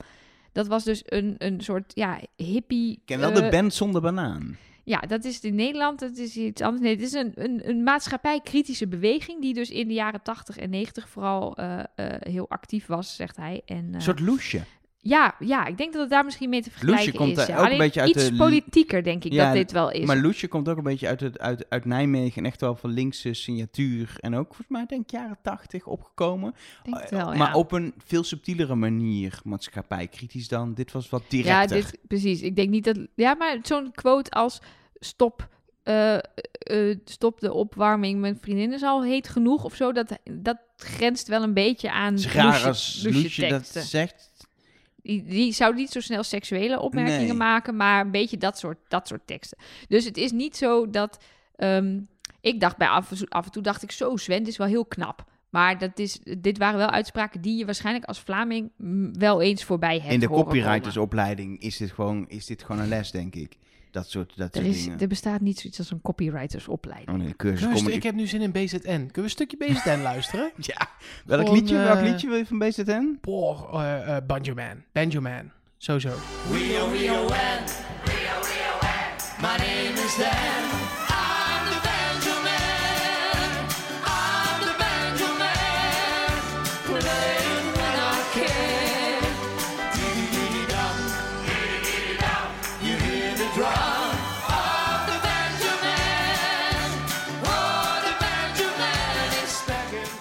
A: Dat was dus een, een soort ja, hippie.
B: Ik ken wel
A: eh,
B: de band zonder banaan.
A: ja, dat is in Nederland, dat is iets anders. Nee, het is een, een, een maatschappij-kritische beweging die dus in de jaren 80 en 90 vooral eh, eh, heel actief was, zegt hij. En, eh,
B: Een soort loesje.
A: ja, ja, ik denk dat het daar misschien mee te vergelijken
B: Loesje komt
A: is.
B: daar
A: ja.
B: ook een
A: Alleen
B: beetje uit
A: iets
B: de-
A: politieker, denk ik,
B: Ja,
A: dat dit wel is.
B: Maar Loesje komt ook een beetje uit, het, uit, uit Nijmegen. En echt wel van linkse signatuur. En ook volgens mij, denk ik, jaren tachtig opgekomen. Eh,
A: Ik denk het wel,
B: Maar
A: ja.
B: op een veel subtielere manier maatschappijkritisch dan. Dit was wat directer.
A: Ja, dit, precies. Ik denk niet dat... Ja, maar zo'n quote als stop, eh, eh, stop de opwarming, mijn vriendin is al heet genoeg of zo. Dat, dat grenst wel een beetje aan
B: Het is raar
A: Loesje-
B: als Loesje dat
A: teksten.
B: zegt.
A: Die, die zou niet zo snel seksuele opmerkingen
B: Nee.
A: maken, maar een beetje dat soort, dat soort teksten. Dus het is niet zo dat. ehm, ik dacht bij af, en toe- af en toe dacht ik zo, Sven, dit is wel heel knap. Maar dat is, dit waren wel uitspraken die je waarschijnlijk als Vlaming mm, wel eens voorbij hebt.
B: In de
A: horen
B: copywritersopleiding is dit, gewoon, is dit gewoon een les, denk ik. Dat soort, dat
A: komen.
B: soort
A: Er, is,
B: dingen.
A: er bestaat niet zoiets als een
B: Oh
A: copywritersopleiding.
B: nee, de cursus
C: Luister,
A: *laughs*
B: comedy-
C: ik heb nu zin in BZN. Kunnen we een stukje BZN *laughs* luisteren?
B: Ja, welk
C: Gewoon,
B: liedje, welk
C: eh,
B: liedje wil je van BZN?
C: Boah, eh, eh, Banjo Man. Banjo Man. Sowieso.
B: Oh.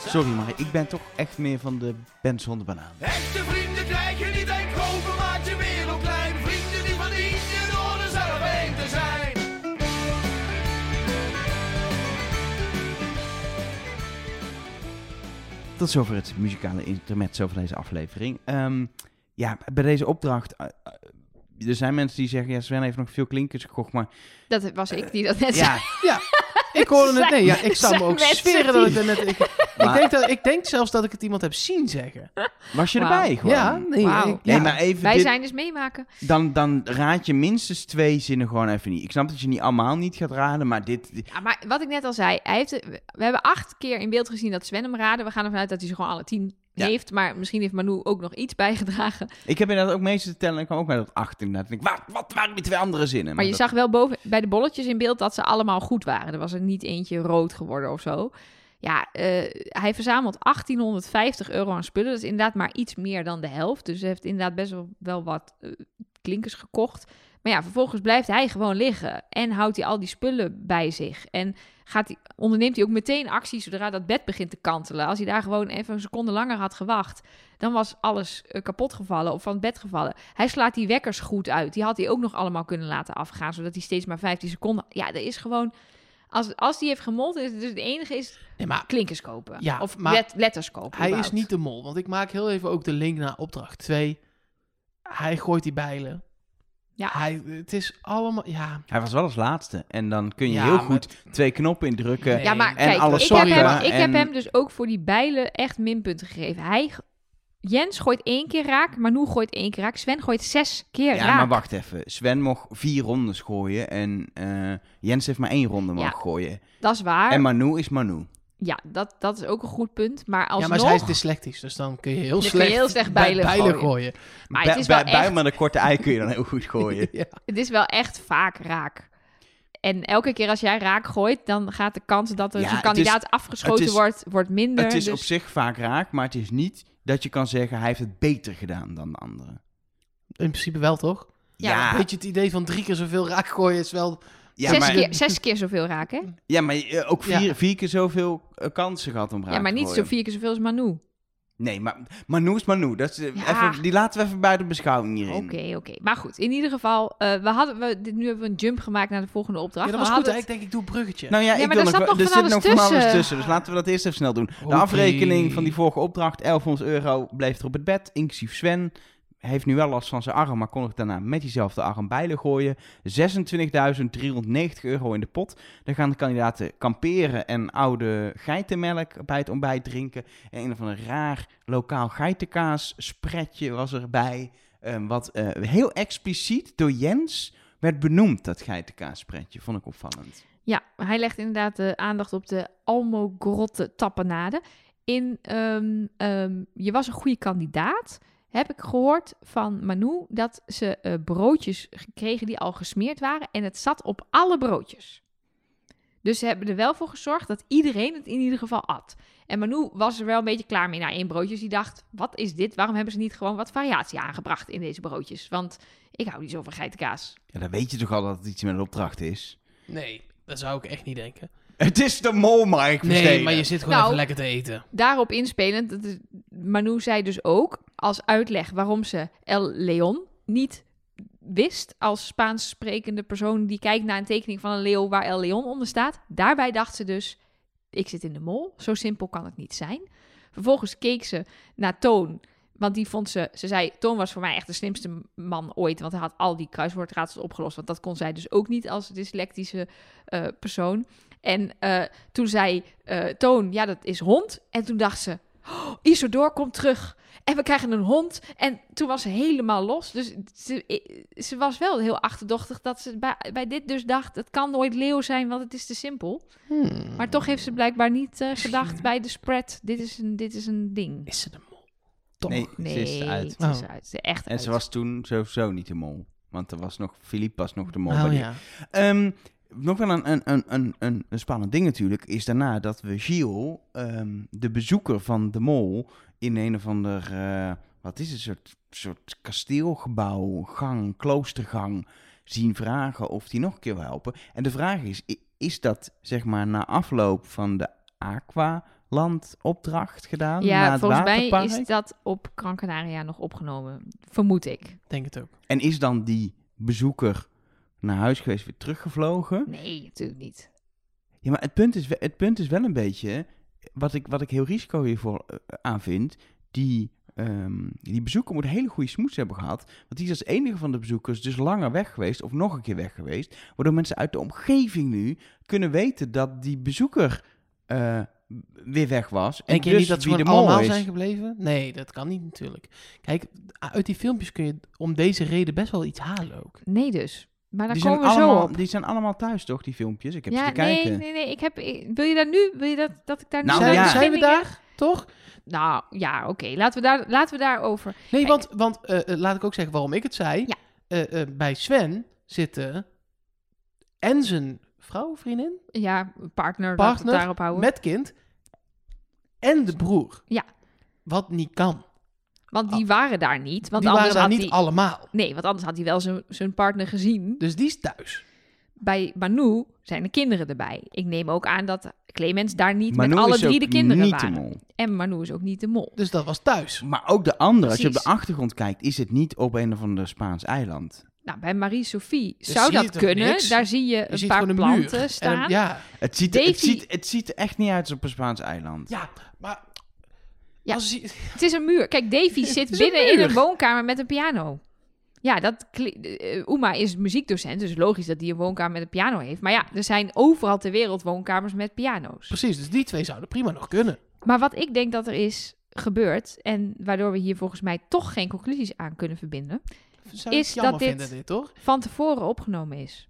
B: Sorry, maar ik ben toch echt meer van de band zonder banaan.
D: Echte vrienden krijg je niet en kopen maakt je wereldklein. Vrienden die van je door er zelf heen te zijn.
B: Tot zover het muzikale intermezzo van deze aflevering. Ehm, ja, bij deze opdracht. eh, eh, er zijn mensen die zeggen: ja, Sven heeft nog veel klinkers gekocht.
A: *laughs*
B: Maar
A: Dat was ik die dat net zei.
B: ja,
C: Ja, ik hoorde het. Nee, ja, ik zou me
A: Zijn
C: ook
A: mensen
C: sferen dat ik er net... Ik, ik,
B: Maar-
C: denk dat, ik denk zelfs dat ik het iemand heb zien
B: *laughs*
C: zeggen.
B: was je
A: Wauw.
B: erbij? Gewoon?
C: Ja, nee.
A: Wauw.
C: ik-
B: Nee,
C: ja.
B: maar even.
A: Wij
B: dit-
A: zijn dus meemaken.
B: dan, dan raad je minstens twee zinnen gewoon even niet. Ik snap dat je niet allemaal niet gaat raden, maar dit. dit-
A: Ja, maar wat ik net al zei, hij heeft, we hebben acht keer in beeld gezien dat Sven hem raadde. We gaan ervan uit dat hij ze gewoon alle tien
B: Ja.
A: heeft. Maar misschien heeft Manu ook nog iets bijgedragen. Maar,
B: ik heb inderdaad ook meeste te tellen en ik kwam ook bij dat acht inderdaad. En ik, wat, wat waren die twee andere zinnen?
A: je
B: dat-
A: zag wel boven bij de bolletjes in beeld dat ze allemaal goed waren. Er was er niet eentje rood geworden of zo. Ja, eh, hij verzamelt 1850 euro aan spullen. Dat is inderdaad maar iets meer dan de helft. Dus hij heeft inderdaad best wel, wel wat eh, klinkers gekocht. Maar ja, vervolgens blijft hij gewoon liggen. En houdt hij al die spullen bij zich. En gaat hij, onderneemt hij ook meteen actie zodra dat bed begint te kantelen. Als hij daar gewoon even een seconde langer had gewacht, dan was alles eh, kapot gevallen of van het bed gevallen. Hij slaat die wekkers goed uit. Die had hij ook nog allemaal kunnen laten afgaan, zodat hij steeds maar 15 seconden. Ja, er is gewoon. Als, als die heeft gemold, is het dus het enige is
C: Nee, maar
A: klinkers kopen.
C: Ja,
A: of
C: maar
A: let- letters kopen.
C: Hij is
A: überhaupt.
C: niet de mol, want ik maak heel even ook de link naar opdracht 2. Hij gooit die bijlen.
A: Ja.
C: Hij, het is allemaal... Ja,
B: Hij was wel als laatste. En dan kun je
C: Ja,
B: heel
C: maar-
B: goed twee knoppen indrukken.
C: Nee.
A: Ja, maar
C: en
A: kijk,
B: alle
A: ik, heb
B: sokken
A: hem, ik
B: en-
A: heb hem dus ook voor die bijlen echt minpunten gegeven. Hij Jens gooit één keer raak, Manu gooit één keer raak, Sven gooit zes keer
B: Ja,
A: raak.
B: maar wacht even. Sven mocht vier rondes gooien en eh, Jens heeft maar één ronde mogen
A: Ja.
B: gooien.
A: Dat is waar.
B: En Manu is Manu.
A: Ja, dat, dat is ook een goed punt. Maar alsnog...
C: Ja, maar hij is dyslectisch, dus dan kun je heel
A: Dan kun je
C: slecht,
A: heel slecht
C: bij-
A: bijlen gooien.
C: gooien.
A: Maar
B: bij,
A: het is wel
B: bij- bij
A: echt-
B: maar de korte ei kun je dan heel
A: *laughs*
B: goed gooien.
C: Ja.
A: Het is wel echt vaak raak. En elke keer als jij raak gooit, dan gaat de kans dat er
B: Ja,
A: zo'n
B: het is-
A: kandidaat afgeschoten
B: het is-
A: wordt, wordt minder.
B: het is
A: dus-
B: op zich vaak raak, maar het is niet dat je kan zeggen hij heeft het beter gedaan dan de andere.
C: In principe wel, toch?
A: Ja,
C: Weet je, het idee van drie keer zoveel raak gooien is wel...
B: ja,
A: zes,
B: maar,
A: keer, zes keer zoveel raak, hè?
B: ja, maar eh, ook
C: Ja.
B: vier, vier keer zoveel eh, kansen gehad om raak
A: Ja, maar
B: te
A: niet zo
B: gooien.
A: vier keer zoveel als Manu.
B: Nee, maar Manu is Manu. Dat is, eh,
A: Ja.
B: even, die laten we even buiten beschouwing
A: Oké,
B: hierin.
A: oké. Maar goed, in ieder geval, eh, we hadden, we, dit, nu hebben we een jump gemaakt naar de volgende
C: Ja,
A: opdracht.
C: dat
A: maar
C: was
A: we
C: goed.
A: hadden
C: hè? Ik denk, ik doe een bruggetje.
B: Nou
A: Ja,
B: ja, ik
A: maar
B: wil
A: daar
B: nog,
A: zat nog
B: er
A: van
B: zit nog
A: alles
B: van alles
A: tussen.
B: tussen. Dus laten we dat eerst even snel doen. De
C: Oké.
B: afrekening van die vorige opdracht, 1100 euro, bleef er op het bed, inclusief Sven. Heeft nu wel last van zijn arm, maar kon ik daarna met diezelfde arm bijlen gooien. 26.390 euro in de pot. Dan gaan de kandidaten kamperen en oude geitenmelk bij het ontbijt drinken. En een of ander raar lokaal geitenkaas spretje was erbij. ehm, wat eh, heel expliciet door Jens werd benoemd, dat geitenkaas spretje. Vond ik opvallend.
A: Ja, hij legt inderdaad de aandacht op de Almogrotte tapenade. In, ehm, ehm, je was een goede kandidaat, heb ik gehoord van Manu, dat ze eh, broodjes kregen die al gesmeerd waren. En het zat op alle broodjes. Dus ze hebben er wel voor gezorgd dat iedereen het in ieder geval at. En Manu was er wel een beetje klaar mee na één broodje. Dus die dacht, wat is dit? Waarom hebben ze niet gewoon wat variatie aangebracht in deze broodjes? Want ik hou niet zo van geitenkaas.
B: Ja, dan weet je toch al dat het iets met een opdracht is?
C: Nee, dat zou ik echt niet denken.
B: *laughs* Het is de mol, Mike.
C: Nee, maar je zit gewoon
A: Nou.
C: even lekker te eten.
A: daarop inspelend, dat is, Manu zei dus ook als uitleg waarom ze El Leon niet wist als Spaans sprekende persoon die kijkt naar een tekening van een leeuw waar El Leon onder staat. Daarbij dacht ze dus, ik zit in de mol, zo simpel kan het niet zijn. Vervolgens keek ze naar Toon, want die vond ze, ze zei, Toon was voor mij echt de slimste man ooit, want hij had al die kruiswoordraadsels opgelost, want dat kon zij dus ook niet als dyslectische eh, persoon. En eh, toen zei eh, Toon, ja, dat is hond. En toen dacht ze, oh, Isidor komt terug. En we krijgen een hond. En toen was ze helemaal los. Dus ze, eh, ze was wel heel achterdochtig dat ze bij, bij dit dus dacht... het kan nooit leeuw zijn, want het is te simpel. Maar toch heeft ze blijkbaar niet eh, gedacht bij de spread... dit is een, dit is een ding.
C: Is het een mol? Toch.
B: Nee,
A: Nee,
B: ze is uit.
A: het is
C: Oh.
A: uit. Ze is echt
B: En ze
A: uit.
B: was toen sowieso niet de mol. Want er was nog, Filip was nog de mol. bij
C: Oh
B: die-
C: ja.
B: Ehm, nog wel een, een, een, een, een, een spannend ding natuurlijk is daarna dat we Gilles, ehm, de bezoeker van de mol, in een of ander, eh, wat is het, soort, soort kasteelgebouw, gang, kloostergang, zien vragen of die nog een keer wil helpen. En de vraag is, i- is dat zeg maar na afloop van de Aqualand opdracht gedaan? na
A: Ja,
B: het
A: volgens mij
B: waterpark?
A: is dat op Gran Canaria nog opgenomen. Vermoed ik.
C: Denk het ook.
B: En is dan die bezoeker naar huis geweest weer teruggevlogen?
A: Nee, natuurlijk niet.
B: Ja, maar het punt is, we- het punt is wel een beetje, eh, wat ik, wat ik heel risico hiervoor eh, aan vind, die, ehm, die bezoeker moet een hele goede smoes hebben gehad. Want die is als enige van de bezoekers dus langer weg geweest of nog een keer weg geweest. Waardoor mensen uit de omgeving nu kunnen weten dat die bezoeker eh, weer weg was.
C: En
B: En
C: je
B: dus
C: niet dat ze
B: wie de
C: gewoon
B: mol
C: allemaal
B: is.
C: zijn gebleven? Nee, dat kan niet natuurlijk. Kijk, uit die filmpjes kun je om deze reden best wel iets halen ook.
A: Nee dus. Maar daar
B: die, zijn
A: komen we zo
B: allemaal,
A: op.
B: die zijn allemaal thuis toch, die filmpjes? Ik heb ze te
A: nee,
B: kijken.
A: nee, nee. Ik heb, ik- wil je daar nu, wil je dat, dat ik daar
B: Nou,
A: nu...
C: zijn,
B: ja.
C: zijn we
A: beginnen?
C: daar, toch?
A: Nou, ja, oké. Laten we daar, laten we daarover.
C: Nee,
A: Kijk.
C: want, want eh, eh, laat ik ook zeggen waarom ik het zei.
A: Ja.
C: Eh, eh, bij Sven zitten en zijn vrouw, vriendin,
A: Ja, partner, laten we
C: Partner
A: het daarop houden.
C: met kind en de broer.
A: Ja.
C: Wat niet kan.
A: Want die waren daar niet. Want
C: die waren
A: anders
C: daar
A: had
C: niet
A: hij-
C: allemaal.
A: Nee, want anders had hij wel zijn- zijn partner gezien.
C: Dus die is thuis.
A: Bij Manu zijn de kinderen erbij. Ik neem ook aan dat Clemens daar niet
B: Manu
A: met alle
B: is
A: drie
B: ook
A: de kinderen
B: niet de
A: waren.
B: mol.
A: En Manu is ook niet de mol.
C: Dus dat was thuis.
B: Maar ook de andere, als je op de
A: Precies.
B: achtergrond kijkt, is het niet op een of ander Spaans eiland.
A: Nou, bij Marie-Sophie
C: Dus
A: zou
C: zie je
A: dat
C: toch
A: kunnen.
C: niks?
A: Daar zie je
C: Je
A: een
C: ziet
A: paar
C: gewoon een muur.
A: planten
C: En een-
A: staan.
C: ja,
B: Het ziet,
A: Davy-
B: het, ziet, het ziet er echt niet uit als op een Spaans eiland.
C: ja, maar...
A: Ja.
C: Als je-
A: Het is een muur. Kijk,
C: *laughs*
A: Davy zit
C: is
A: binnen
C: een
A: in
C: muur.
A: een woonkamer met een piano. Ja, dat kli- eh, Uma is muziekdocent, dus logisch dat die een woonkamer met een piano heeft. Maar ja, er zijn overal ter wereld woonkamers met piano's.
C: Precies, dus die twee zouden prima nog kunnen.
A: Maar wat ik denk dat er is, gebeurt en waardoor we hier volgens mij toch geen conclusies aan kunnen verbinden,
C: Zou ik
A: Is
C: jammer
A: dat dit-
C: vinden dit, hoor.
A: van tevoren opgenomen is.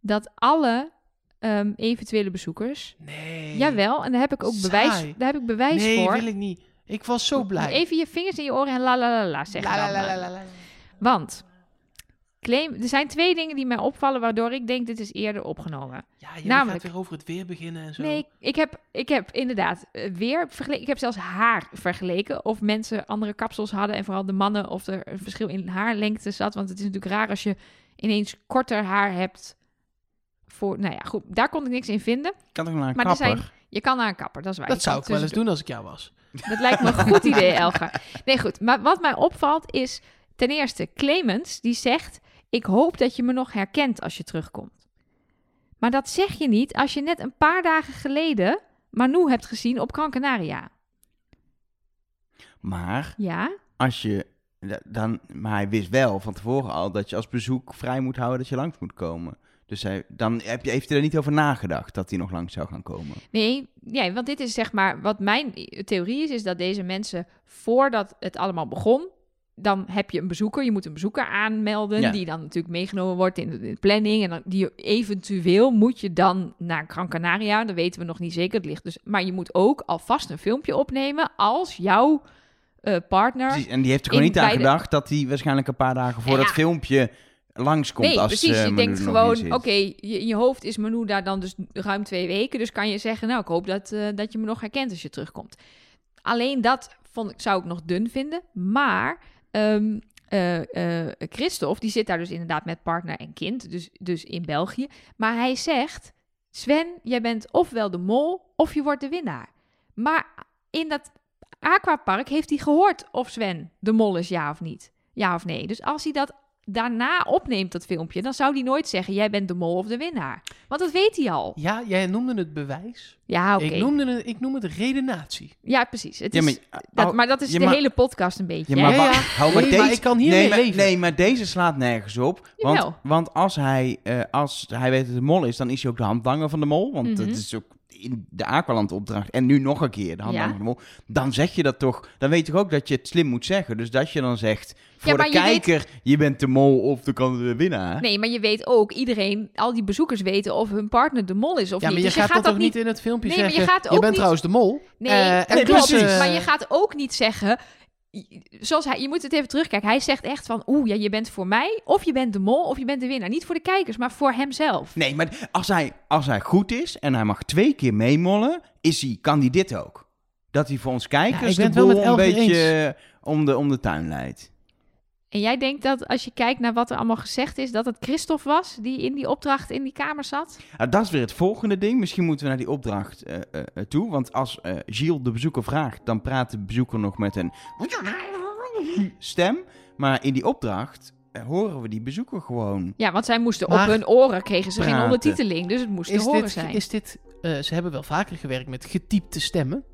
A: Dat alle ehm, eventuele bezoekers,
C: Nee.
A: jawel, en daar heb ik ook
C: Saai.
A: bewijs, daar heb ik bewijs
C: nee,
A: voor.
C: wil ik niet. Ik was zo blij.
A: Even je vingers in je oren en la la la la zeggen.
C: La, la,
A: dan,
C: la,
A: eh.
C: la, la, la.
A: Want claim, er zijn twee dingen die mij opvallen waardoor ik denk dit is eerder opgenomen.
C: Ja, je
A: Namelijk-
C: gaat weer over het weer beginnen en zo.
A: Nee, ik- ik heb, ik heb inderdaad eh, weer vergeleken. Ik heb zelfs haar vergeleken. Of mensen andere kapsels hadden en vooral de mannen of er een verschil in haarlengte zat. Want het is natuurlijk raar als je ineens korter haar hebt. Voor, nou ja, goed, daar kon ik niks in vinden.
B: Kan toch naar een
A: Maar er
B: kapper?
A: zijn- Je kan naar een kapper, dat is waar.
C: dat
A: Je
C: zou
A: kan
C: ik wel eens
A: tussen-
C: doen als ik jou was.
A: Dat lijkt me een goed idee, Elga. Nee, goed. Maar wat mij opvalt is ten eerste Clemens die zegt: Ik hoop dat je me nog herkent als je terugkomt. Maar dat zeg je niet als je net een paar dagen geleden Manu hebt gezien op Gran Canaria.
B: Maar
A: Ja?
B: als je... da- Dan, maar hij wist wel van tevoren al dat je als bezoek vrij moet houden dat je langs moet komen. Dus hij, dan heb je, heeft hij er niet over nagedacht dat hij nog langs zou gaan komen.
A: Nee, nee, want dit is zeg maar wat mijn theorie is: is dat deze mensen voordat het allemaal begon. Dan heb je een bezoeker, je moet een bezoeker aanmelden,
B: Ja.
A: die dan natuurlijk meegenomen wordt in de, in de planning. En dan, die eventueel moet je dan naar Gran Canaria, dat weten we nog niet zeker, het ligt dus. Maar je moet ook alvast een filmpje opnemen als jouw eh, partner.
B: Precies, en die heeft er gewoon
A: In
B: niet aan
A: beide-
B: gedacht dat hij waarschijnlijk een paar dagen voor
A: Ja.
B: dat filmpje langskomt.
A: nee,
B: als,
A: precies.
B: eh,
A: je
B: Manu
A: denkt
B: er nog
A: gewoon,
B: in
A: oké,
B: zit.
A: je, in je hoofd is Manu daar dan dus ruim twee weken. Dus kan je zeggen, nou, ik hoop dat, eh, dat je me nog herkent als je terugkomt. Alleen dat vond ik, zou ik nog dun vinden. Maar ehm eh, eh, Christophe, die zit daar dus inderdaad met partner en kind. Dus, dus in België. Maar hij zegt, Sven, jij bent ofwel de mol of je wordt de winnaar. Maar in dat aquapark heeft hij gehoord of Sven de mol is, ja of niet. Ja of nee. Dus als hij dat daarna opneemt, dat filmpje, dan zou hij nooit zeggen: Jij bent de mol of de winnaar. Want dat weet hij al.
C: Ja, jij noemde het bewijs.
A: Ja, oké.
C: Ik, noemde het, ik noem het redenatie.
A: Ja, precies. Het
B: Ja,
A: is,
B: maar,
A: dat,
C: oh,
B: hou-
A: maar dat is
B: ja,
A: de
B: maar-
A: hele podcast een beetje.
B: Ja,
A: hè?
B: maar,
C: Ja,
B: wa-
C: ja.
B: hou maar
C: Nee,
B: deze...
C: maar ik kan hiermee
B: nee, maar,
C: leven.
B: nee, maar deze slaat nergens op. Want,
A: Jawel.
B: want als, hij, eh, als hij weet dat het de mol is, dan is hij ook de handlanger van de mol. Want
A: Mhm.
B: dat is ook in de Aqualand opdracht. En nu nog een keer de handlanger van de mol. Dan zeg je dat toch. Dan weet je toch ook dat je het slim moet zeggen. Dus dat je dan zegt voor
A: maar
B: de
A: je weet-
B: kijker, je bent de mol of de kan de winnaar.
A: Nee, maar je weet ook, iedereen, al die bezoekers weten of hun partner de mol is of
C: ja, maar
A: niet.
C: je
A: Dus
C: gaat, dat
A: dat
C: toch niet in het filmpje
A: Nee, maar je
C: zeggen...
A: gaat ook
C: bent
A: niet-
C: trouwens de mol.
A: Nee,
C: Eh,
A: dat
C: en
A: klopt.
C: dus, eh,
A: Maar je gaat ook niet zeggen. Zoals hij, je moet het even terugkijken. Hij zegt echt van, oeh, ja, je bent voor mij, of je bent de mol, of je bent de winnaar. Niet voor de kijkers, maar voor hemzelf.
B: Nee, maar als hij, als hij goed is en hij mag twee keer meemollen, is hij, kan hij dit ook. Dat hij voor ons
C: Ja,
B: kijkers
C: ik ben
B: de
C: het wel
B: boel
C: met
B: een
C: Elger
B: beetje eh, om de, om de tuin leidt.
A: En jij denkt dat als je kijkt naar wat er allemaal gezegd is, dat het Christophe was die in die opdracht in die kamer zat?
B: Nou, dat is weer het volgende ding. Misschien moeten we naar die opdracht eh, eh, eh, toe. Want als eh Gilles de bezoeker vraagt, dan praat de bezoeker nog met een stem. Maar in die opdracht eh, horen we die bezoeker gewoon.
A: Ja, want zij moesten op
C: Maar-
A: hun oren, kregen ze geen
B: Praten.
A: ondertiteling, dus het moest te
C: Is
A: horen
C: dit,
A: zijn.
C: is dit eh, ze hebben wel vaker gewerkt met getypte stemmen.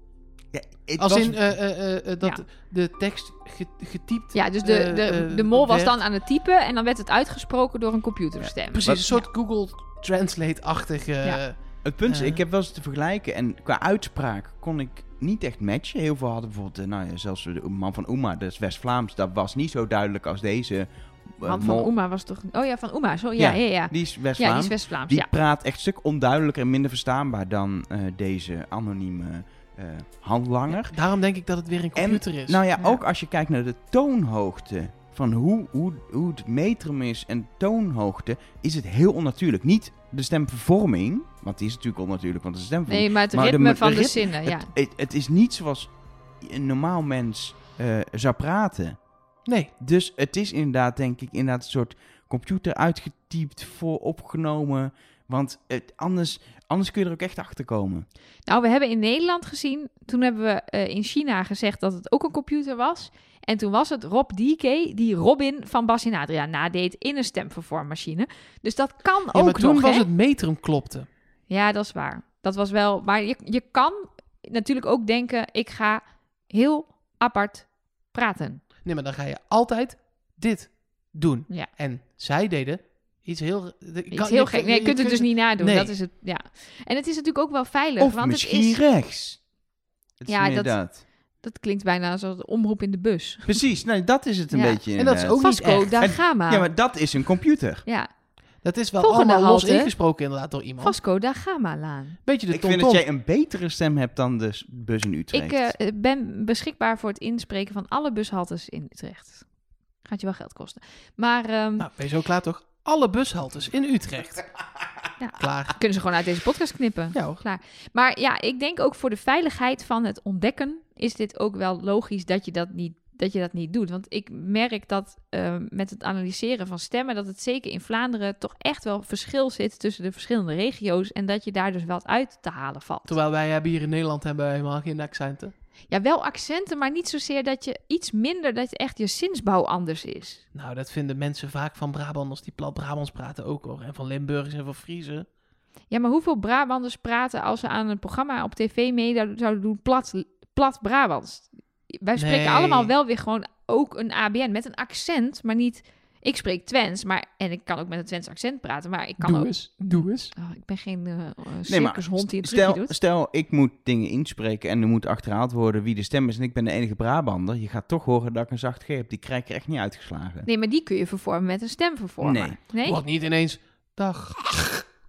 B: Ja, het
C: Als
B: was-
C: in eh, eh, eh, eh, dat
A: Ja.
C: de tekst ge- getypt...
A: Ja, dus de,
C: eh,
A: de,
C: eh,
A: de mol was
C: werd.
A: dan aan het typen en dan werd het uitgesproken door een computerstem.
C: Precies,
B: Wat-
C: een soort Google Translate-achtige...
A: Ja.
B: Het punt is,
C: Eh.
B: ik heb wel eens te vergelijken en qua uitspraak kon ik niet echt matchen. Heel veel hadden bijvoorbeeld, eh, nou ja, zelfs de man van Oema, dat is West-Vlaams, dat was niet zo duidelijk als deze. eh,
A: Want van
B: mol.
A: Oema was toch... Oh ja, van Oema, zo, ja, ja, ja. Ja,
B: Die is
A: die
B: West-Vlaams.
A: is West-Vlaams,
B: die
A: ja.
B: praat echt een stuk onduidelijker en minder verstaanbaar dan eh, deze anonieme eh, handlanger.
C: Daarom denk ik dat het weer een
B: En-
C: computer is.
B: Nou ja,
A: Ja.
B: ook als je kijkt naar de toonhoogte van hoe, hoe, hoe het metrum is en toonhoogte, is het heel onnatuurlijk. Niet de stemvervorming, want die is natuurlijk onnatuurlijk, want de stemvorming.
A: Nee, maar het
B: Maar de-
A: ritme
B: de
A: van de
B: ritme-
A: zinnen, ja.
B: Het, het, het is niet zoals een normaal mens eh, zou praten.
C: Nee,
B: Dus het is inderdaad, denk ik, inderdaad een soort computer uitgetypt, voor opgenomen. Want het, anders, anders kun je er ook echt achter komen.
A: Nou, we hebben in Nederland gezien, toen hebben we eh, in China gezegd dat het ook een computer was. En toen was het Rob DK die Robin van Bas en Adria nadeed in een stemvervormmachine. Dus dat kan
C: ja,
A: ook
C: maar toen
A: nog,
C: was
A: hè?
C: het metrum klopte.
A: Ja, dat is waar. Dat was wel... Maar je, je kan natuurlijk ook denken, ik ga heel apart praten.
C: Nee, maar dan ga je altijd dit doen.
A: Ja.
C: En zij deden iets heel... de-
A: Iets
C: kan-
A: heel
C: je-
A: gek. Nee, je kunt het dus niet nadoen.
C: Nee.
A: Dat is het, ja. En het is natuurlijk ook wel veilig.
B: of
A: want
B: misschien
A: het is...
B: rechts. Het is
A: Ja,
B: ja,
A: dat-
B: inderdaad.
A: Dat klinkt bijna als een omroep in de bus.
B: Precies, nee, dat is het een
A: Ja.
B: beetje.
C: En dat is
B: inderdaad.
C: ook niet
A: Vasco,
C: echt.
A: daar
B: En-
A: ga maar.
B: Ja, maar dat is een
C: Dus
B: computer.
A: Ja,
C: Dat is wel
A: Volgende
C: allemaal los
A: halte.
C: ingesproken inderdaad door iemand.
A: Vasco da Gama-laan.
C: Beetje de
B: Ik vind dat
C: tom-tom.
B: jij een betere stem hebt dan de s- bus in Utrecht.
A: Ik eh, ben beschikbaar voor het inspreken van alle bushaltes in Utrecht. Gaat je wel geld kosten. Maar ehm,
C: Nou, ben je zo klaar toch? Alle bushaltes in Utrecht.
A: *laughs* Ja.
C: Klaar.
A: kunnen ze gewoon uit deze podcast knippen.
C: Ja hoor.
A: Maar ja, ik denk ook voor de veiligheid van het ontdekken is dit ook wel logisch dat je dat niet, dat je dat niet doet. Want ik merk dat eh, met het analyseren van stemmen, dat het zeker in Vlaanderen toch echt wel verschil zit tussen de verschillende regio's en dat je daar dus wat uit te halen valt.
C: Terwijl wij hebben hier in Nederland hebben wij helemaal geen accenten.
A: Ja, wel accenten, maar niet zozeer dat je iets minder, dat echt je zinsbouw anders is.
C: Nou, dat vinden mensen vaak van Brabanders die plat Brabants praten ook hoor. En van Limburgers en van Friese.
A: Ja, maar hoeveel Brabanders praten als ze aan een programma op tv mee zou- zouden doen plat, plat Brabants? Wij spreken
C: Nee.
A: allemaal wel weer gewoon ook een ABN met een accent, maar niet... Ik spreek Twents, maar, en ik kan ook met een Twents accent praten, maar ik kan ook...
C: eens, doe eens.
A: Oh, ik ben geen eh, eh,
B: Nee, maar
A: circushond die een trucje
B: Stel,
A: doet.
B: stel, ik moet dingen inspreken en er moet achterhaald worden wie de stem is en ik ben de enige Brabander. Je gaat toch horen dat ik een zacht G heb. Die krijg ik er echt niet uitgeslagen.
A: Nee, maar die kun je vervormen met een stemvervormer.
B: Nee.
A: nee?
C: Wat niet ineens, dag.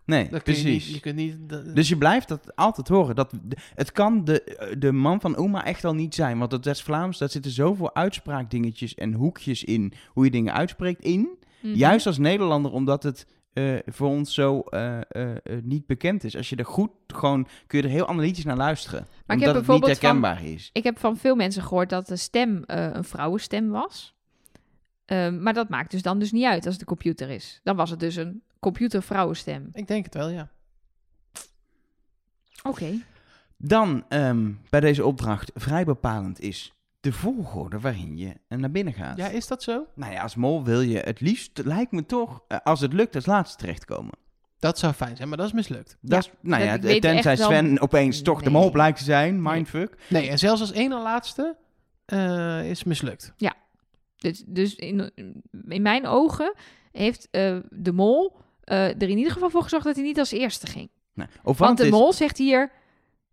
B: Nee,
C: Dat kun je
B: precies.
C: niet- Je kunt niet... dat-
B: Dus je blijft dat altijd horen. Dat, het kan de, de man van oma echt al niet zijn. Want het West-Vlaams, daar zitten zoveel uitspraakdingetjes en hoekjes in. Hoe je dingen uitspreekt in.
A: Mhm.
B: Juist als Nederlander, omdat het eh, voor ons zo eh, eh, eh, niet bekend is. Als je er goed, gewoon kun je er heel analytisch naar luisteren.
A: heb
B: omdat het niet
A: bijvoorbeeld van-
B: herkenbaar is.
A: Ik heb van veel mensen gehoord dat de stem eh, een vrouwenstem was. Ehm, maar dat maakt dus dan dus niet uit als het een computer is. Dan was het dus een computervrouwenstem.
C: Ik denk het wel, ja.
A: Oké.
B: Dan ehm, bij deze opdracht vrij bepalend is de volgorde waarin je eh, naar binnen gaat.
C: Ja, is dat zo?
B: Nou ja, als mol wil je het liefst, lijkt me toch, eh, als het lukt, als laatste terechtkomen.
C: Dat zou fijn zijn, maar dat is mislukt.
B: Dat is, nou
A: dat-
B: ja,
A: ik weet
B: tenzij
A: echt wel-
B: Sven opeens toch de
A: Nee.
B: mol blijkt te zijn, mindfuck.
C: Nee, en zelfs als ene laatste eh, is mislukt.
A: Dus, dus in, in mijn ogen heeft eh, de mol eh, er in ieder geval voor gezorgd dat hij niet als eerste ging.
B: Nee. Of
A: Want
B: want
A: de
B: Nou, is-
A: mol zegt hier...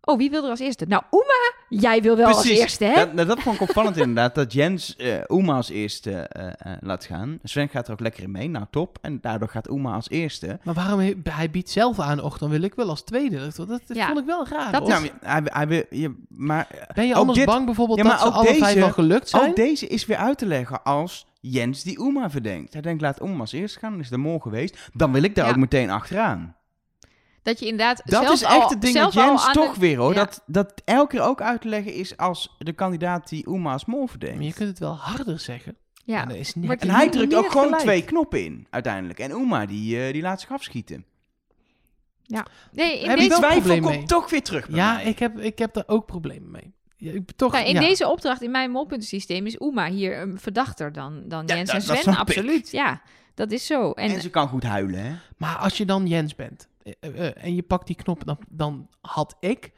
A: Oh, wie wil er als eerste? Nou, Oema, jij wil wel als
B: Precies.
A: eerste, hè?
B: Dat, nou, dat vond ik opvallend inderdaad, dat Jens eh Oema als eerste eh, eh, laat gaan. Sven gaat er ook lekker in mee, nou top. En daardoor gaat Oema als eerste.
C: Maar waarom he- hij biedt zelf aan, och, dan wil ik wel als tweede. Dat, dat, dat
A: Ja.
C: vond ik wel raar.
A: Dat
C: hoor.
B: Nou, hij, hij wil, je, maar eh,
C: ben je
B: ook
C: anders
B: dit-
C: bang bijvoorbeeld
B: Ja,
C: dat
B: maar
C: ze
B: ook
C: alle vijf
B: deze-
C: wel gelukt zijn?
B: ook deze is weer uit te leggen als Jens die Oema verdenkt. Hij denkt, laat Oema als eerste gaan, dan is de mol geweest. Dan wil ik daar
A: Ja.
B: ook meteen achteraan.
A: Dat je inderdaad
B: Dat
A: zelf
B: is echt
A: al,
B: het ding dat
A: zelf al
B: Jens
A: aan de-
B: toch weer hoor.
A: Ja.
B: Dat, dat elke keer ook uit te leggen is als de kandidaat die Oema als mol
C: Maar je
B: verdenkt.
C: kunt het wel harder zeggen.
A: Ja.
B: Ah,
C: En dat is niet-
A: Wordt-
B: En hij
A: Niet-
B: drukt
C: niet
B: ook gewoon
C: gelijk.
B: twee knoppen in uiteindelijk. En Oema die, eh, die laat zich afschieten.
A: Nee, in
C: Heb je
B: Die
A: deze,
C: wel
B: twijfel
C: probleem
B: komt
C: mee.
B: toch weer terug bij
C: Ja,
B: mij.
C: ik heb, ik heb daar ook problemen mee. Ja, ik, toch,
A: Nou, in
C: Ah, ja.
A: deze opdracht in mijn molpuntensysteem is Oema hier een verdachter dan, dan
B: Ja,
A: Jens
B: dat-
A: en
B: dat
A: Sven.
B: snap ik.
A: Absoluut, ja. Dat is zo. En,
B: En, ze kan goed huilen, hè?
C: Maar als je dan Jens bent eh, eh, eh, en je pakt die knop, dan, dan had ik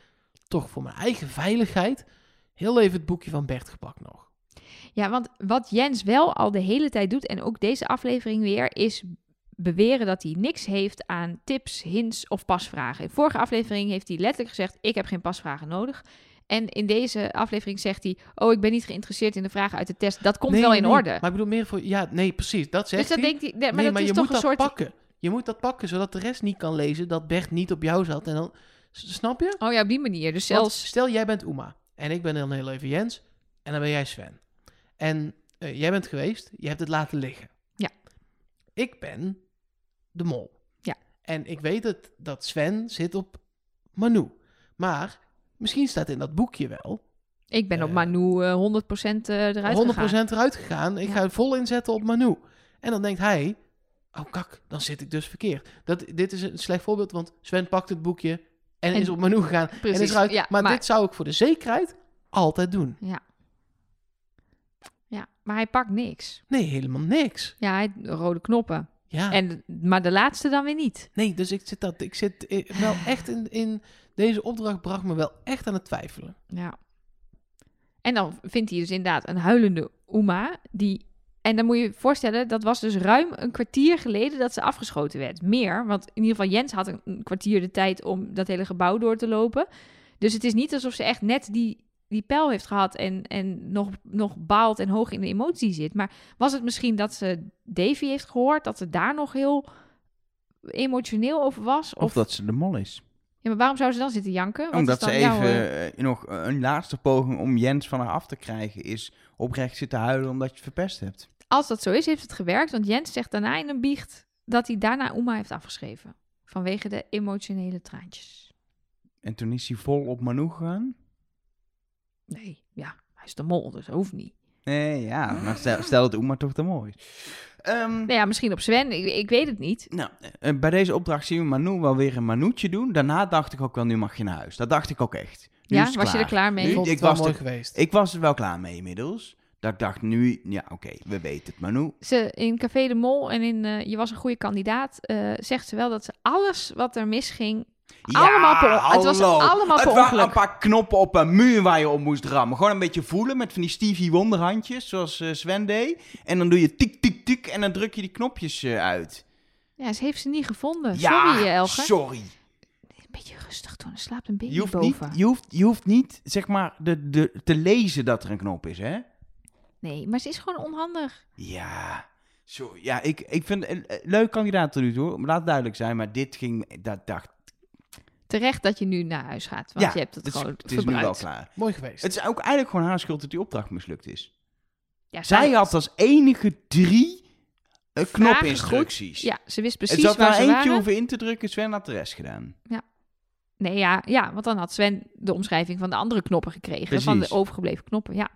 C: toch voor mijn eigen veiligheid heel even het boekje van Bert gepakt nog.
A: ja, want wat Jens wel al de hele tijd doet, en ook deze aflevering weer, is beweren dat hij niks heeft aan tips, hints of pasvragen. In vorige aflevering heeft hij letterlijk gezegd, ik heb geen pasvragen nodig. En in deze aflevering zegt hij, oh, ik ben niet geïnteresseerd in de vragen uit de test. Dat komt
C: Nee,
A: wel in
C: nee,
A: orde.
C: Maar ik bedoel meer voor... Ja, nee, precies. Dat zegt
A: dus dat
C: hij.
A: denkt hij, nee, maar
C: nee,
A: dat
C: maar
A: is
C: je
A: toch
C: moet
A: een
C: dat
A: soort...
C: pakken. Je moet dat pakken, zodat de rest niet kan lezen dat Bert niet op jou zat. En dan... s- Snap je?
A: Oh ja, op die manier. Dus
C: Want
A: zelfs...
C: stel, jij bent Oema. En ik ben dan heel even Jens. En dan ben jij Sven. En eh, jij bent geweest. Je hebt het laten liggen.
A: Ja.
C: Ik ben de mol.
A: Ja.
C: En ik weet het, dat Sven zit op Manu. Maar misschien staat in dat boekje wel... 100%
A: Ik ben op
C: eh,
A: Manu eh, 100% eh, eruit gegaan.
C: eruit gegaan. Ik
A: Ja.
C: ga vol inzetten op Manu. En dan denkt hij... Oh kak, dan zit ik dus verkeerd. Dat, dit is een slecht voorbeeld, want Sven pakt het boekje... En,
A: En-
C: is op Manu gegaan. en
A: Precies,
C: is eruit.
A: ja,
C: maar,
A: maar-
C: dit zou ik voor de zekerheid altijd doen.
A: Ja, maar hij pakt niks.
C: Nee, helemaal niks.
A: Ja, hij rode knoppen.
C: Ja.
A: En, maar de laatste dan weer niet.
C: Nee, dus ik zit, dat, ik zit eh,
A: *sighs*
C: wel echt in, in... Deze opdracht bracht me wel echt aan het twijfelen.
A: Ja. En dan vindt hij dus inderdaad een huilende Uma. Die, en dan moet je je voorstellen, dat was dus ruim een kwartier geleden dat ze afgeschoten werd. Meer, want in ieder geval Jens had een, een kwartier de tijd om dat hele gebouw door te lopen. Dus het is niet alsof ze echt net die die pijl heeft gehad en, en nog, nog baalt en hoog in de emotie zit. Maar was het misschien dat ze Davy heeft gehoord, dat ze daar nog heel emotioneel over was?
B: Of, dat ze de mol is.
A: Ja, maar waarom zou ze dan zitten janken? Wat
B: Omdat
A: is
B: ze
A: dan
B: even
A: jouw, eh,
B: eh, nog een laatste poging om Jens van haar af te krijgen is oprecht zitten huilen omdat je het verpest hebt.
A: Als dat zo is, heeft het gewerkt. Want Jens zegt daarna in een biecht dat hij daarna Uma heeft afgeschreven. Vanwege de emotionele traantjes.
B: En toen is hij vol op Manu gegaan.
A: Nee, ja, hij is de mol, dus dat hoeft niet.
B: Nee, ja, maar stel, stel dat Oema toch te mooi is. Ehm,
A: Nou ja, misschien op Sven, ik, ik weet het niet.
B: Nou, eh, bij deze opdracht zien we Manu wel weer een Manoetje doen. Daarna dacht ik ook wel, nu mag je naar huis. Dat dacht ik ook echt. Nu
A: ja,
B: is het
A: was je er
B: klaar.
A: klaar mee?
C: Ik vond
B: ik
C: het wel
B: was
C: mooi
B: er-
C: geweest.
B: Ik was er wel klaar mee inmiddels. Dat ik dacht nu, ja oké, we weten het. Manu,
A: Ze, in Café de Mol en in eh, Je was een goede kandidaat, eh, zegt ze wel dat ze alles wat er misging... Allemaal per- het was
B: hallo.
A: allemaal per
B: Het waren
A: ongeluk.
B: een paar knoppen op een muur waar je op moest rammen. Gewoon een beetje voelen met van die Stevie Wonderhandjes, zoals eh, Sven deed. En dan doe je tik, tik, tik en dan druk je die knopjes eh, uit.
A: Ja, ze heeft ze niet gevonden.
B: ja,
A: Eh, Sorry, Elger.
B: sorry.
A: Een beetje rustig doen, er slaapt een baby
B: Je hoeft, niet,
A: boven.
B: je, hoeft, je hoeft niet, zeg maar, de, de, te lezen dat er een knop is, hè?
A: Nee, maar ze is gewoon onhandig.
B: Ja, sorry. Ja, ik, ik vind het een- een leuk kandidaat tot nu toe. Laat het duidelijk zijn, maar dit ging, dat dacht
A: Terecht dat je nu naar huis gaat, want
B: ja,
A: je hebt het,
B: is-
A: gewoon
B: Het is
A: verbruikt.
B: nu wel klaar.
C: Mooi geweest.
B: Het is ook eigenlijk gewoon haar schuld dat die opdracht mislukt is.
A: Ja,
B: Zij had als enige drie eh,
A: Vragen
B: knopinstructies.
A: Ja, ze wist
B: Het
A: precies
B: zat
A: waar
B: maar
A: ze
B: eentje
A: waren.
B: hoeven in te drukken, Sven had de rest gedaan.
A: Nee, ja, ja, want dan had Sven de omschrijving van de andere knoppen gekregen. Van de
B: Precies.
A: overgebleven knoppen, ja.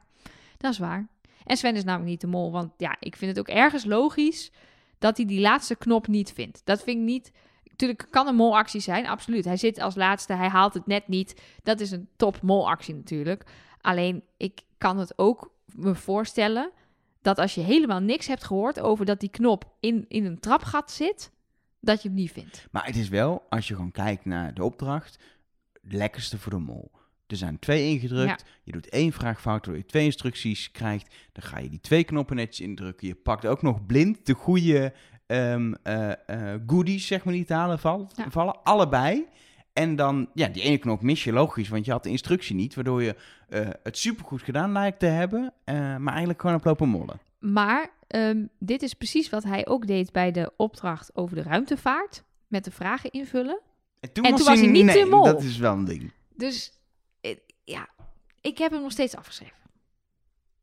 A: Dat is waar. En Sven is namelijk niet de mol. Want ja, ik vind het ook ergens logisch dat hij die laatste knop niet vindt. Dat vind ik niet... Natuurlijk kan een molactie zijn, absoluut. Hij zit als laatste, hij haalt het net niet. Dat is een top molactie natuurlijk. Alleen, ik kan het ook me voorstellen... dat als je helemaal niks hebt gehoord over dat die knop in, in een trapgat zit... dat je hem niet vindt.
B: Maar het is wel, als je gewoon kijkt naar de opdracht, het lekkerste voor de mol. Er zijn twee ingedrukt. Je doet één vraag fout, waardoor je twee instructies krijgt. Dan ga je die twee knoppen netjes indrukken. Je pakt ook nog blind de goede ehm, eh, eh, goodies, zeg maar, die te halen val-
A: Ja.
B: vallen. Allebei. En dan, ja, die ene knop mis je logisch, want je had de instructie niet. Waardoor je eh, het supergoed gedaan lijkt te hebben, eh, maar eigenlijk gewoon op lopen mollen.
A: Maar ehm, dit is precies wat hij ook deed bij de opdracht over de ruimtevaart. Met de vragen invullen.
B: En toen,
A: En toen was hij niet
B: nee,
A: de mol.
B: Dat is wel een ding.
A: Dus eh, ja, ik heb hem nog steeds afgeschreven.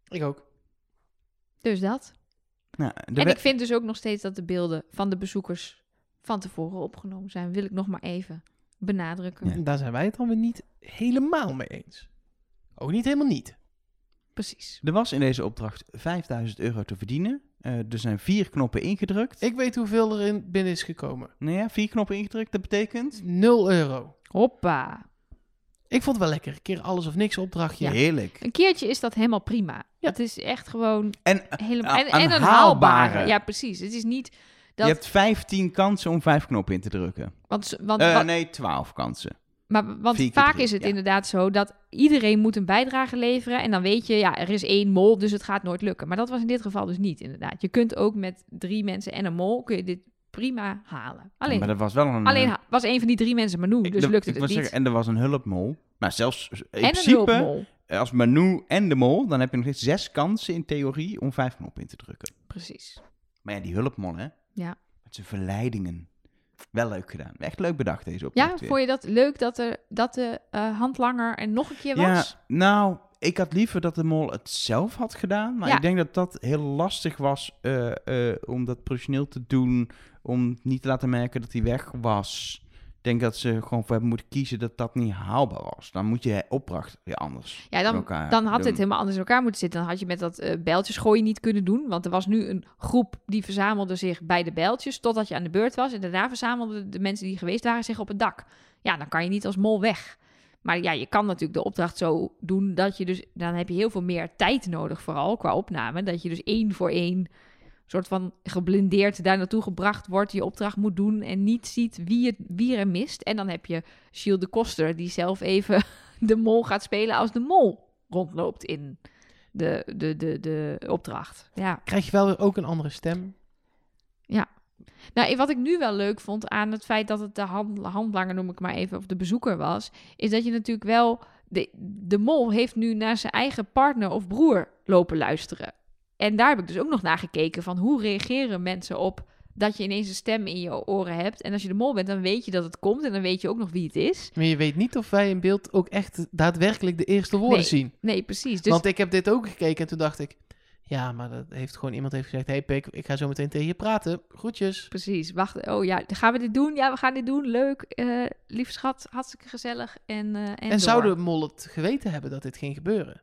C: Ik ook.
A: Dus dat.
B: Nou, de
A: en
B: we-
A: ik vind dus ook nog steeds dat de beelden van de bezoekers van tevoren opgenomen zijn. Wil ik nog maar even benadrukken.
B: Ja.
C: Daar zijn wij het dan weer niet helemaal mee eens. Ook niet helemaal niet.
A: Precies.
B: Er was in deze opdracht 5000 euro te verdienen. Eh, er zijn vier knoppen ingedrukt.
C: Ik weet hoeveel er in binnen is gekomen.
B: Nou ja, vier knoppen ingedrukt, dat betekent...
C: 0 euro.
A: Hoppa.
C: Ik vond het wel lekker. Een keer alles of niks opdrachtje.
B: Heerlijk.
A: Een keertje is dat helemaal prima.
C: Ja.
A: Het is echt gewoon
B: En
A: helemaal...
B: Ah,
A: En,
B: een
A: en een
B: haalbare.
A: haalbare. Ja, precies. Het is niet dat...
B: je hebt 15 kansen om vijf knoppen in te drukken.
A: Want, ze- want,
B: Eh,
A: wat-
B: nee, 12 kansen.
A: Maar want
B: Vier keer
A: vaak
B: drie,
A: is het
B: ja.
A: inderdaad zo dat iedereen moet een bijdrage leveren. En dan weet je, ja, er is één mol, dus het gaat nooit lukken. Maar dat was in dit geval dus niet, inderdaad. Je kunt ook met drie mensen en een mol kun je dit prima halen. Alleen,
B: maar dat was wel een...
A: alleen
B: eh,
A: ha- was een van die drie mensen Manu,
B: ik-
A: dus
B: dat-
A: lukte
B: ik
A: het
B: wou
A: niet.
B: zeggen, en er was een hulpmol. Nou, zelfs in
A: en een
B: principe, eh,
A: hulpmol,
B: als Manu en de mol, dan heb je nog steeds zes kansen in theorie om vijf knoppen in te drukken.
A: precies.
B: Maar ja, die hulpmol, hè?
A: Ja.
B: Met zijn verleidingen. Wel leuk gedaan. Echt leuk bedacht deze opdracht
A: Ja,
B: weer.
A: vond je dat leuk dat, er, dat de eh, handlanger er nog een keer
B: Ja,
A: was?
B: nou, ik had liever dat de mol het zelf had gedaan. Maar
A: Ja.
B: ik denk dat dat heel lastig was eh, eh, om dat professioneel te doen. Om niet te laten merken dat hij weg was. Ik denk dat ze gewoon voor hebben moeten kiezen dat dat niet haalbaar was. Dan moet je opdracht weer anders.
A: Ja, dan,
B: elkaar
A: dan had
B: doen.
A: het helemaal anders in elkaar moeten zitten. Dan had je met dat eh bijltjes gooien niet kunnen doen. Want er was nu een groep die verzamelde zich bij de bijltjes totdat je aan de beurt was. En daarna verzamelden de mensen die geweest waren zich op het dak. Ja, dan kan je niet als mol weg. Maar ja, je kan natuurlijk de opdracht zo doen dat je dus... Dan heb je heel veel meer tijd nodig, vooral qua opname. Dat je dus één voor één soort van geblindeerd daar naartoe gebracht wordt, je opdracht moet doen en niet ziet wie, het, wie er mist. En dan heb je Gilles de Koster, die zelf even de mol gaat spelen als de mol rondloopt in de, de, de, de opdracht. Ja.
C: Krijg je wel weer ook een andere stem.
A: Nou, en wat ik nu wel leuk vond aan het feit dat het de hand, handlanger, noem ik maar even, of de bezoeker was, is dat je natuurlijk wel de, de mol heeft nu naar zijn eigen partner of broer lopen luisteren. En daar heb ik dus ook nog naar gekeken van hoe reageren mensen op dat je ineens een stem in je oren hebt. En als je de mol bent, dan weet je dat het komt en dan weet je ook nog wie het is.
C: Maar je weet niet of wij in beeld ook echt daadwerkelijk de eerste woorden
A: Nee,
C: zien.
A: Nee, precies. Dus
C: Want ik heb dit ook gekeken en toen dacht ik... Ja, maar dat heeft gewoon iemand heeft gezegd... hey Pik, ik ga zo meteen tegen je praten. Groetjes.
A: precies. Wacht. Oh ja, gaan we dit doen? Ja, we gaan dit doen. Leuk. eh lief schat, hartstikke gezellig. En, eh en,
C: En,
A: door.
C: zou de mol het geweten hebben dat dit ging gebeuren?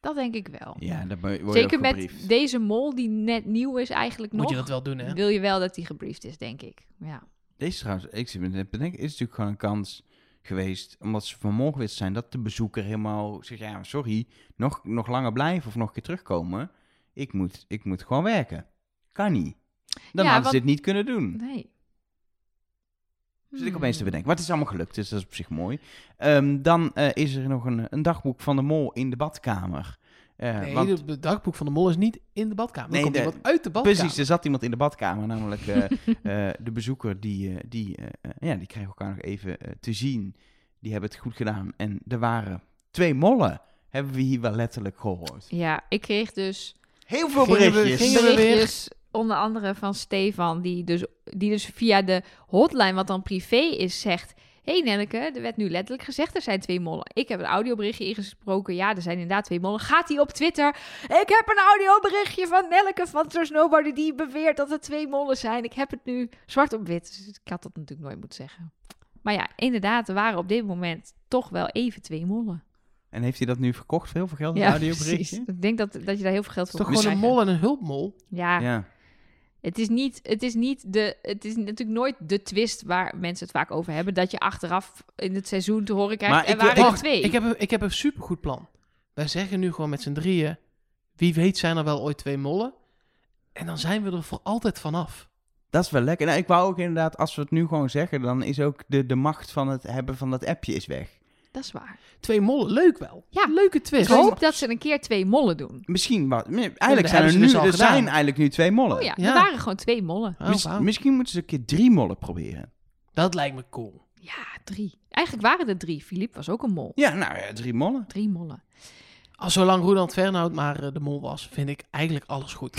A: Dat denk ik wel.
B: Ja, daar word je ook
A: Zeker met
B: gebriefd.
A: deze mol die net nieuw is eigenlijk
C: Moet
A: nog.
C: je dat wel doen, hè?
A: wil je wel dat hij gebriefd is, denk ik. Ja.
B: Deze trouwens, ik zit me net te bedenken, is natuurlijk gewoon een kans geweest, omdat ze vanmorgen wist zijn, dat de bezoeker helemaal zegt, ja, sorry, nog, nog langer blijven of nog een keer terugkomen. Ik moet, ik moet gewoon werken. Kan niet. Dan
A: Ja,
B: hadden
A: want-
B: ze dit niet kunnen doen.
A: Nee.
B: Hm. Zit ik
A: Hmm.
B: opeens te bedenken. Maar het is allemaal gelukt, dus dat is op zich mooi. Ehm, dan eh, is er nog een, een dagboek van de mol in de badkamer. Eh,
C: Nee,
B: want-
C: het dagboek van de mol is niet in de badkamer.
B: Nee,
C: Nee, komt
B: de-
C: iemand uit de badkamer.
B: Precies, er zat iemand in de badkamer, namelijk
C: *laughs*
B: eh, eh, de bezoeker die, eh, die, eh, eh, ja, die kregen elkaar nog even eh, te zien. Die hebben het goed gedaan. En er waren twee mollen, hebben we hier wel letterlijk gehoord.
A: Ja, ik kreeg dus
B: Heel veel
C: Gingen we-
B: berichtjes.
C: gingen we- weer?
A: berichtjes onder andere van Stefan, die dus, die dus via de hotline, wat dan privé is, zegt... Hé hey Nelleke, er werd nu letterlijk gezegd, er zijn twee mollen. Ik heb een audioberichtje ingesproken. Ja, er zijn inderdaad twee mollen. Gaat die op Twitter? Ik heb een audioberichtje van Nelleke van Trust Nobody... die beweert dat er twee mollen zijn. Ik heb het nu zwart op wit. Dus ik had dat natuurlijk nooit moeten zeggen. Maar ja, inderdaad, er waren op dit moment toch wel even twee mollen.
B: En heeft hij dat nu verkocht voor heel veel geld, een
A: ja,
B: audioberichtje?
A: precies. Ik denk dat, dat je daar heel veel geld
C: Het is
A: voor
C: toch
A: moet
C: gewoon een
A: krijgen.
C: mol en een hulpmol?
A: Ja,
B: Ja.
A: Het is, niet, het is niet de. Het is natuurlijk nooit de twist waar mensen het vaak over hebben. Dat je achteraf in het seizoen te horen krijgt.
B: Maar
A: er
B: ik wil-
A: waren er
C: Wacht,
A: twee.
C: Ik heb, een- ik heb een supergoed plan. Wij zeggen nu gewoon met z'n drieën... Wie weet zijn er wel ooit twee mollen? En dan zijn we er voor altijd vanaf.
B: Dat is wel lekker. Nou, ik wou ook inderdaad, als we het nu gewoon zeggen, dan is ook de, de macht van het hebben van dat appje is weg.
A: Dat is waar.
C: Twee mollen, leuk wel.
A: Ja.
C: Leuke
A: Ik
C: twist.
A: hoop dat ze een keer twee mollen doen.
B: Misschien wat. Eigenlijk
C: hebben
B: zijn er
C: ze
B: nu,
C: dus al
B: er
C: gedaan.
B: zijn eigenlijk nu twee mollen.
A: Oh ja,
C: Ja.
A: er waren gewoon twee mollen.
C: Oh,
B: Mis-
C: wauw.
B: Misschien moeten ze een keer drie mollen proberen.
C: Dat lijkt me cool.
A: Ja, drie. Eigenlijk waren er drie. Filip was ook een mol.
B: Ja, nou ja, drie mollen.
A: Drie mollen.
C: Als zolang Roland Fernhout maar eh, de mol was, vind ik eigenlijk alles goed.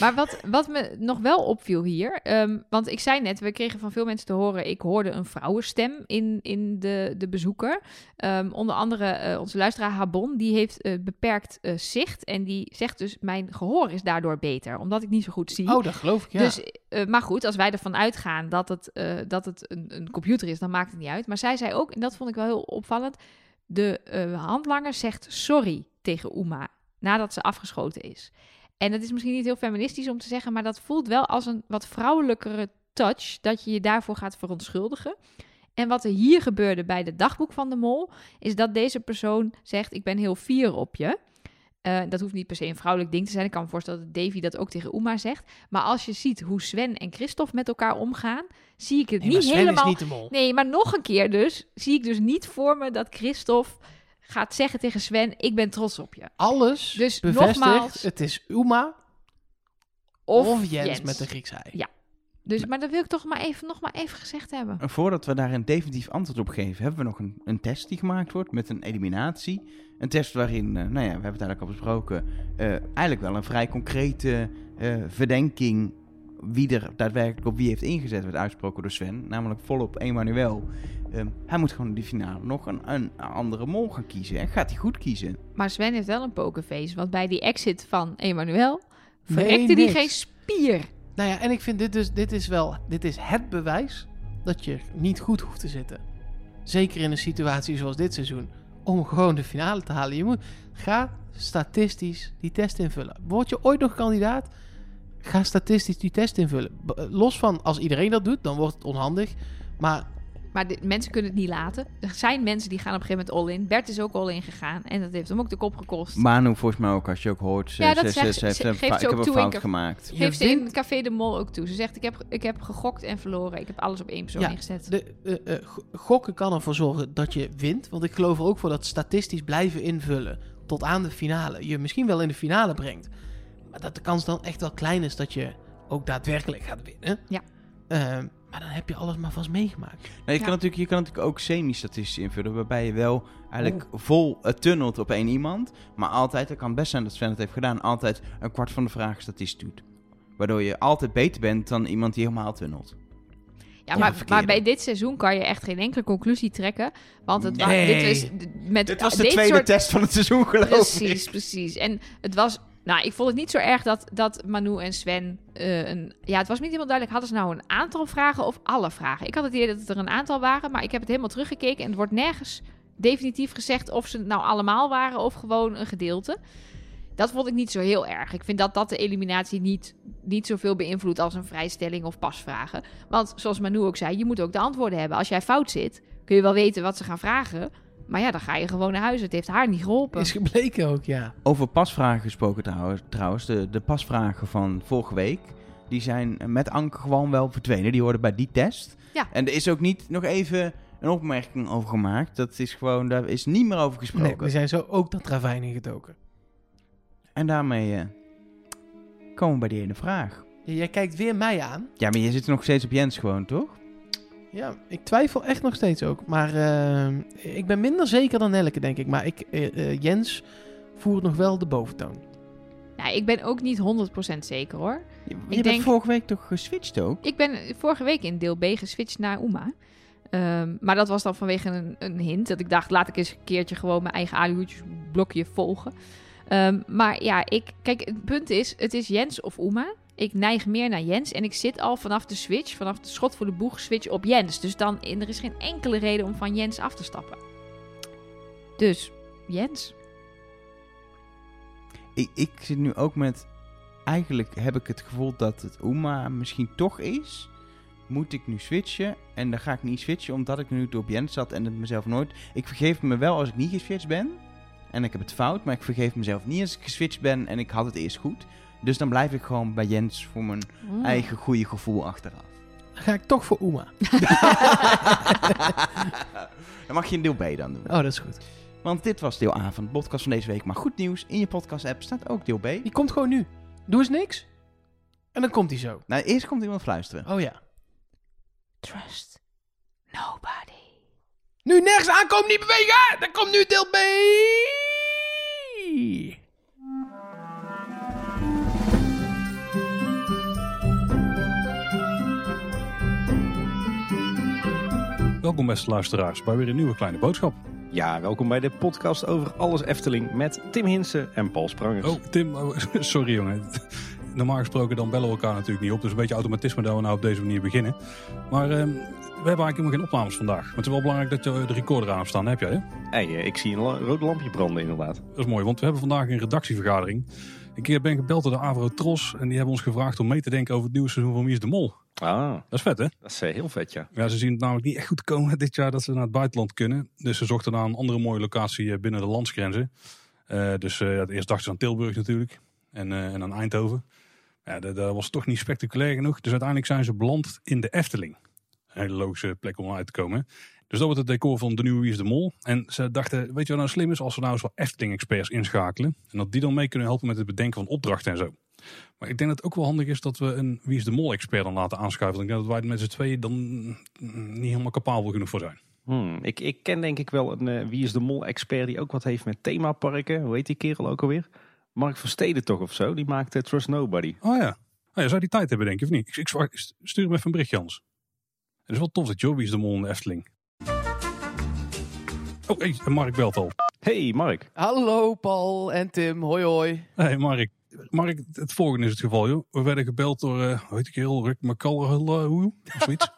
A: Maar wat, wat me nog wel opviel hier. ehm, want ik zei net, we kregen van veel mensen te horen. Ik hoorde een vrouwenstem in, in de, de bezoeker. Ehm, onder andere eh, onze luisteraar Habon. Die heeft eh, beperkt eh, zicht. En die zegt dus: Mijn gehoor is daardoor beter. Omdat ik niet zo goed zie.
C: *laughs* Oh, dat geloof ik, ja.
A: Dus, eh, maar goed, als wij ervan uitgaan dat het, eh, dat het een, een computer is, dan maakt het niet uit. Maar zij zei ook, en dat vond ik wel heel opvallend, de eh, handlanger zegt sorry tegen Uma nadat ze afgeschoten is. En dat is misschien niet heel feministisch om te zeggen, maar dat voelt wel als een wat vrouwelijkere touch, dat je je daarvoor gaat verontschuldigen. En wat er hier gebeurde bij de dagboek van de mol, is dat deze persoon zegt, ik ben heel fier op je. Eh, dat hoeft niet per se een vrouwelijk ding te zijn. Ik kan me voorstellen dat Davy dat ook tegen Uma zegt. Maar als je ziet hoe Sven en Christophe met elkaar omgaan, zie ik het
C: Nee, maar
A: niet
C: Sven
A: helemaal.
C: is niet de mol.
A: Nee, maar nog een keer dus, zie ik dus niet voor me dat Christophe gaat zeggen tegen Sven, ik ben trots op je.
C: Alles
A: Dus
C: bevestigt,
A: nogmaals-
C: het is Uma
A: Of,
C: of, Jens, met de Grieks ei.
A: Dus, maar dat wil ik toch maar even, nog maar even gezegd hebben.
B: En voordat we daar een definitief antwoord op geven, hebben we nog een, een test die gemaakt wordt met een eliminatie. Een test waarin, eh, nou ja, we hebben het eigenlijk al besproken, eh, eigenlijk wel een vrij concrete eh, verdenking wie er daadwerkelijk op wie heeft ingezet werd uitgesproken door Sven. Namelijk volop Emmanuel. Ehm, hij moet gewoon in die finale nog een, een andere mol gaan kiezen. En gaat hij goed kiezen?
A: Maar Sven heeft wel een pokerface, want bij die exit van Emmanuel
C: Nee,
A: verrekte die
C: niks.
A: geen spier.
C: Nou ja, en ik vind dit dus, dit is wel, dit is het bewijs dat je niet goed hoeft te zitten. Zeker in een situatie zoals dit seizoen. Om gewoon de finale te halen. Je moet, ga statistisch die test invullen. Word je ooit nog kandidaat? Ga statistisch die test invullen. B- eh, Los van als iedereen dat doet, dan wordt het onhandig. Maar
A: Maar de, mensen kunnen het niet laten. Er zijn mensen die gaan op een gegeven moment all-in. Bert is ook all-in gegaan en dat heeft hem ook de kop gekost.
B: Manu volgens mij ook, als je ook hoort, ze,
A: Ja, dat
B: ze-
A: zegt ze-
B: ze heeft
A: ze-
B: een
A: geeft
B: fa-
A: ze
B: ik
A: ook
B: heb een
A: toe,
B: fout
A: Inke.
B: gemaakt.
A: Geeft
C: je
A: ze in
C: wint-
A: Café de Mol ook toe. Ze zegt, ik heb, ik heb gegokt en verloren. Ik heb alles op één persoon
C: Ja,
A: ingezet.
C: de, eh, eh, go- gokken kan ervoor zorgen dat je wint. Want ik geloof er ook voor dat statistisch blijven invullen tot aan de finale. Je misschien wel in de finale brengt. Maar dat de kans dan echt wel klein is dat je ook daadwerkelijk gaat winnen.
A: Ja.
C: Ehm, Maar dan heb je alles maar vast meegemaakt.
B: Nee, je,
A: Ja.
B: kan natuurlijk, je kan natuurlijk ook semi-statistisch invullen, waarbij je wel eigenlijk vol eh, tunnelt op één iemand. Maar altijd, het kan best zijn dat Sven het heeft gedaan, altijd een kwart van de vragen statistisch doet. Waardoor je altijd beter bent dan iemand die helemaal tunnelt.
A: Ja,
B: Ja,
A: maar,
B: verkeerde.
A: maar bij dit seizoen kan je echt geen enkele conclusie trekken. Want het wa-
C: Nee.
A: dit was, d- met
B: Dit was de
A: dit
B: tweede
A: soort-
B: test van het seizoen, geloof ik.
A: Precies, precies. En het was... Nou, ik vond het niet zo erg dat, dat Manu en Sven eh, een... Ja, het was niet helemaal duidelijk. Hadden ze nou een aantal vragen of alle vragen? Ik had het idee dat het er een aantal waren, maar ik heb het helemaal teruggekeken. En het wordt nergens definitief gezegd of ze het nou allemaal waren of gewoon een gedeelte. Dat vond ik niet zo heel erg. Ik vind dat dat de eliminatie niet, niet zoveel beïnvloedt als een vrijstelling of pasvragen. Want zoals Manu ook zei, je moet ook de antwoorden hebben. Als jij fout zit, kun je wel weten wat ze gaan vragen. Maar ja, dan ga je gewoon naar huis. Het heeft haar niet geholpen.
C: Is gebleken ook, ja.
B: Over pasvragen gesproken trouwens, trouwens de, de pasvragen van vorige week, die zijn met Anke gewoon wel verdwenen. Die hoorden bij die test.
A: Ja.
B: En er is ook niet nog even een opmerking over gemaakt. Dat is gewoon, daar is niet meer over
C: Nee,
B: gesproken.
C: we zijn zo ook dat ravijn ingedoken.
B: En daarmee eh, komen we bij die ene vraag.
C: Ja, Jij kijkt weer mij aan.
B: Ja, maar je zit nog steeds op Jens gewoon, toch?
C: Ja, ik twijfel echt nog steeds ook. Maar eh, ik ben minder zeker dan Nelke, denk ik. Maar ik, eh, eh, Jens voert nog wel de boventoon.
A: Nou, ik ben ook niet 100% zeker hoor.
B: Je, je
A: denk-
B: bent vorige week toch geswitcht ook?
A: Ik ben vorige week in deel B geswitcht naar Uma. Ehm, maar dat was dan vanwege een, een hint. Dat ik dacht, laat ik eens een keertje gewoon mijn eigen alihoedjesblokje volgen. Ehm, maar ja, ik, kijk, het punt is, het is Jens of Uma. Ik neig meer naar Jens. En ik zit al vanaf de switch, vanaf de schot voor de boeg switch op Jens. Dus dan, en er is geen enkele reden om van Jens af te stappen. Dus, Jens.
B: Ik, ik zit nu ook met... Eigenlijk heb ik het gevoel dat het Uma misschien toch is. Moet ik nu switchen? En dan ga ik niet switchen omdat ik nu op Jens zat en het mezelf nooit... Ik vergeef me wel als ik niet geswitcht ben. En ik heb het fout, maar ik vergeef mezelf niet als ik geswitcht ben en ik had het eerst goed. Dus dan blijf ik gewoon bij Jens voor mijn
A: Mm.
B: eigen goede gevoel achteraf.
C: Dan ga ik toch voor Oema.
B: *laughs* dan mag je een deel B dan doen.
C: Oh, dat is goed.
B: Want dit was deel A van de podcast van deze week. Maar goed nieuws, in je podcast-app staat ook deel B.
C: Die komt gewoon nu. Doe eens niks. En dan komt hij zo.
B: Nou, eerst komt iemand fluisteren.
C: Oh ja.
A: Trust nobody.
C: Nu nergens aankomen, niet bewegen! Dan komt nu deel B!
E: Welkom beste luisteraars bij weer een nieuwe kleine boodschap.
F: Ja, welkom bij de podcast over alles Efteling met Tim Hinsen en Paul Sprangers.
E: Oh, Tim, oh, *laughs* sorry jongen. Normaal gesproken dan bellen we elkaar natuurlijk niet op. Dus een beetje automatisme dat we nou op deze manier beginnen. Maar ehm, we hebben eigenlijk helemaal geen opnames vandaag. Maar het is wel belangrijk dat je eh, de recorder aan hebt staan. Heb jij, hè?
F: Hey, eh, ik zie een la- rood lampje branden inderdaad.
E: Dat is mooi, want we hebben vandaag een redactievergadering. Ik eh, ben gebeld door de Avro Tros. En die hebben ons gevraagd om mee te denken over het nieuwe seizoen van Wie is de Mol.
F: Ah,
E: Dat is vet, hè?
F: dat is eh, heel vet ja.
E: Ja, ze zien het namelijk niet echt goed komen dit jaar dat ze naar het buitenland kunnen. Dus ze zochten naar een andere mooie locatie eh, binnen de landsgrenzen. Eh, dus eh, ja, eerst dachten ze aan Tilburg natuurlijk en, eh, en aan Eindhoven. Ja, dat, dat was toch niet spectaculair genoeg. Dus uiteindelijk zijn ze beland in de Efteling. Een hele logische plek om uit te komen. Dus dat wordt het decor van de nieuwe Wie is de Mol. En ze dachten, weet je wat nou slim is? Als we nou eens wat Efteling-experts inschakelen. En dat die dan mee kunnen helpen met het bedenken van opdrachten en zo. Maar ik denk dat het ook wel handig is dat we een Wie is de Mol-expert dan laten aanschuiven. Want Ik denk dat wij er met z'n tweeën dan mm, niet helemaal capabel genoeg voor zijn.
F: Hmm, ik, ik ken denk ik wel een eh, Wie is de Mol expert die ook wat heeft met themaparken. Hoe heet die kerel ook alweer? Mark Versteden toch of zo? Die maakt eh, Trust Nobody.
E: Oh ja. Oh ja, zou die tijd hebben, denk je, of niet? Ik, ik zwa- ik stuur hem even een berichtje, Hans. Het is wel tof dat Jobby is de mol in de Efteling. Oh, hey, en Mark belt al.
F: Hey Mark.
C: Hallo Paul en Tim, hoi hoi.
E: hey, Mark. Mark, het volgende is het geval, joh. We werden gebeld door, eh hoe heet ik heel, Rick eh, McCall, of zoiets.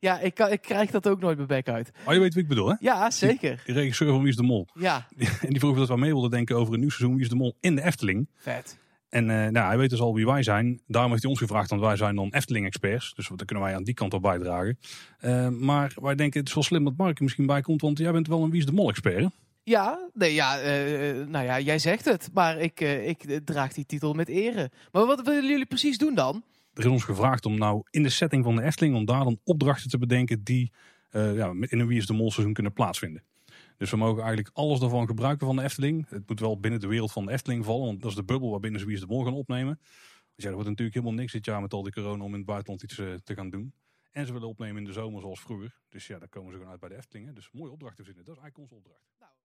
C: Ja, ik, kan, ik krijg dat ook nooit mijn bek uit.
E: Oh, je weet wie ik bedoel, hè?
C: Ja, zeker.
E: Die regisseur van Wie is de Mol.
C: Ja,
E: En die vroeg of dat wij mee wilden denken over een nieuw seizoen Wie is de Mol in de Efteling.
C: vet.
E: En eh, nou, hij weet dus al wie wij zijn. Daarom heeft hij ons gevraagd, want wij zijn dan Efteling-experts. Dus daar kunnen wij aan die kant op bijdragen. Eh, maar wij denken, het is wel slim dat Mark er misschien bij komt. Want jij bent wel een Wie is de Mol-expert, hè?
C: Ja, nee, ja, eh, eh, nou ja, jij zegt het, maar ik, eh, ik eh, draag die titel met ere. Maar wat willen jullie precies doen dan?
E: Er is ons gevraagd om nou in de setting van de Efteling... om daar dan opdrachten te bedenken die eh, ja, in een Wie is de Mol-seizoen kunnen plaatsvinden. Dus we mogen eigenlijk alles daarvan gebruiken van de Efteling. Het moet wel binnen de wereld van de Efteling vallen. Want dat is de bubbel waarbinnen ze Wie is de Mol gaan opnemen. Dus ja, er wordt natuurlijk helemaal niks dit jaar met al die corona... om in het buitenland iets eh, te gaan doen. En ze willen opnemen in de zomer zoals vroeger. Dus ja, daar komen ze gewoon uit bij de Eftelingen. Dus mooie opdracht te verzinnen. Dat is eigenlijk onze opdracht.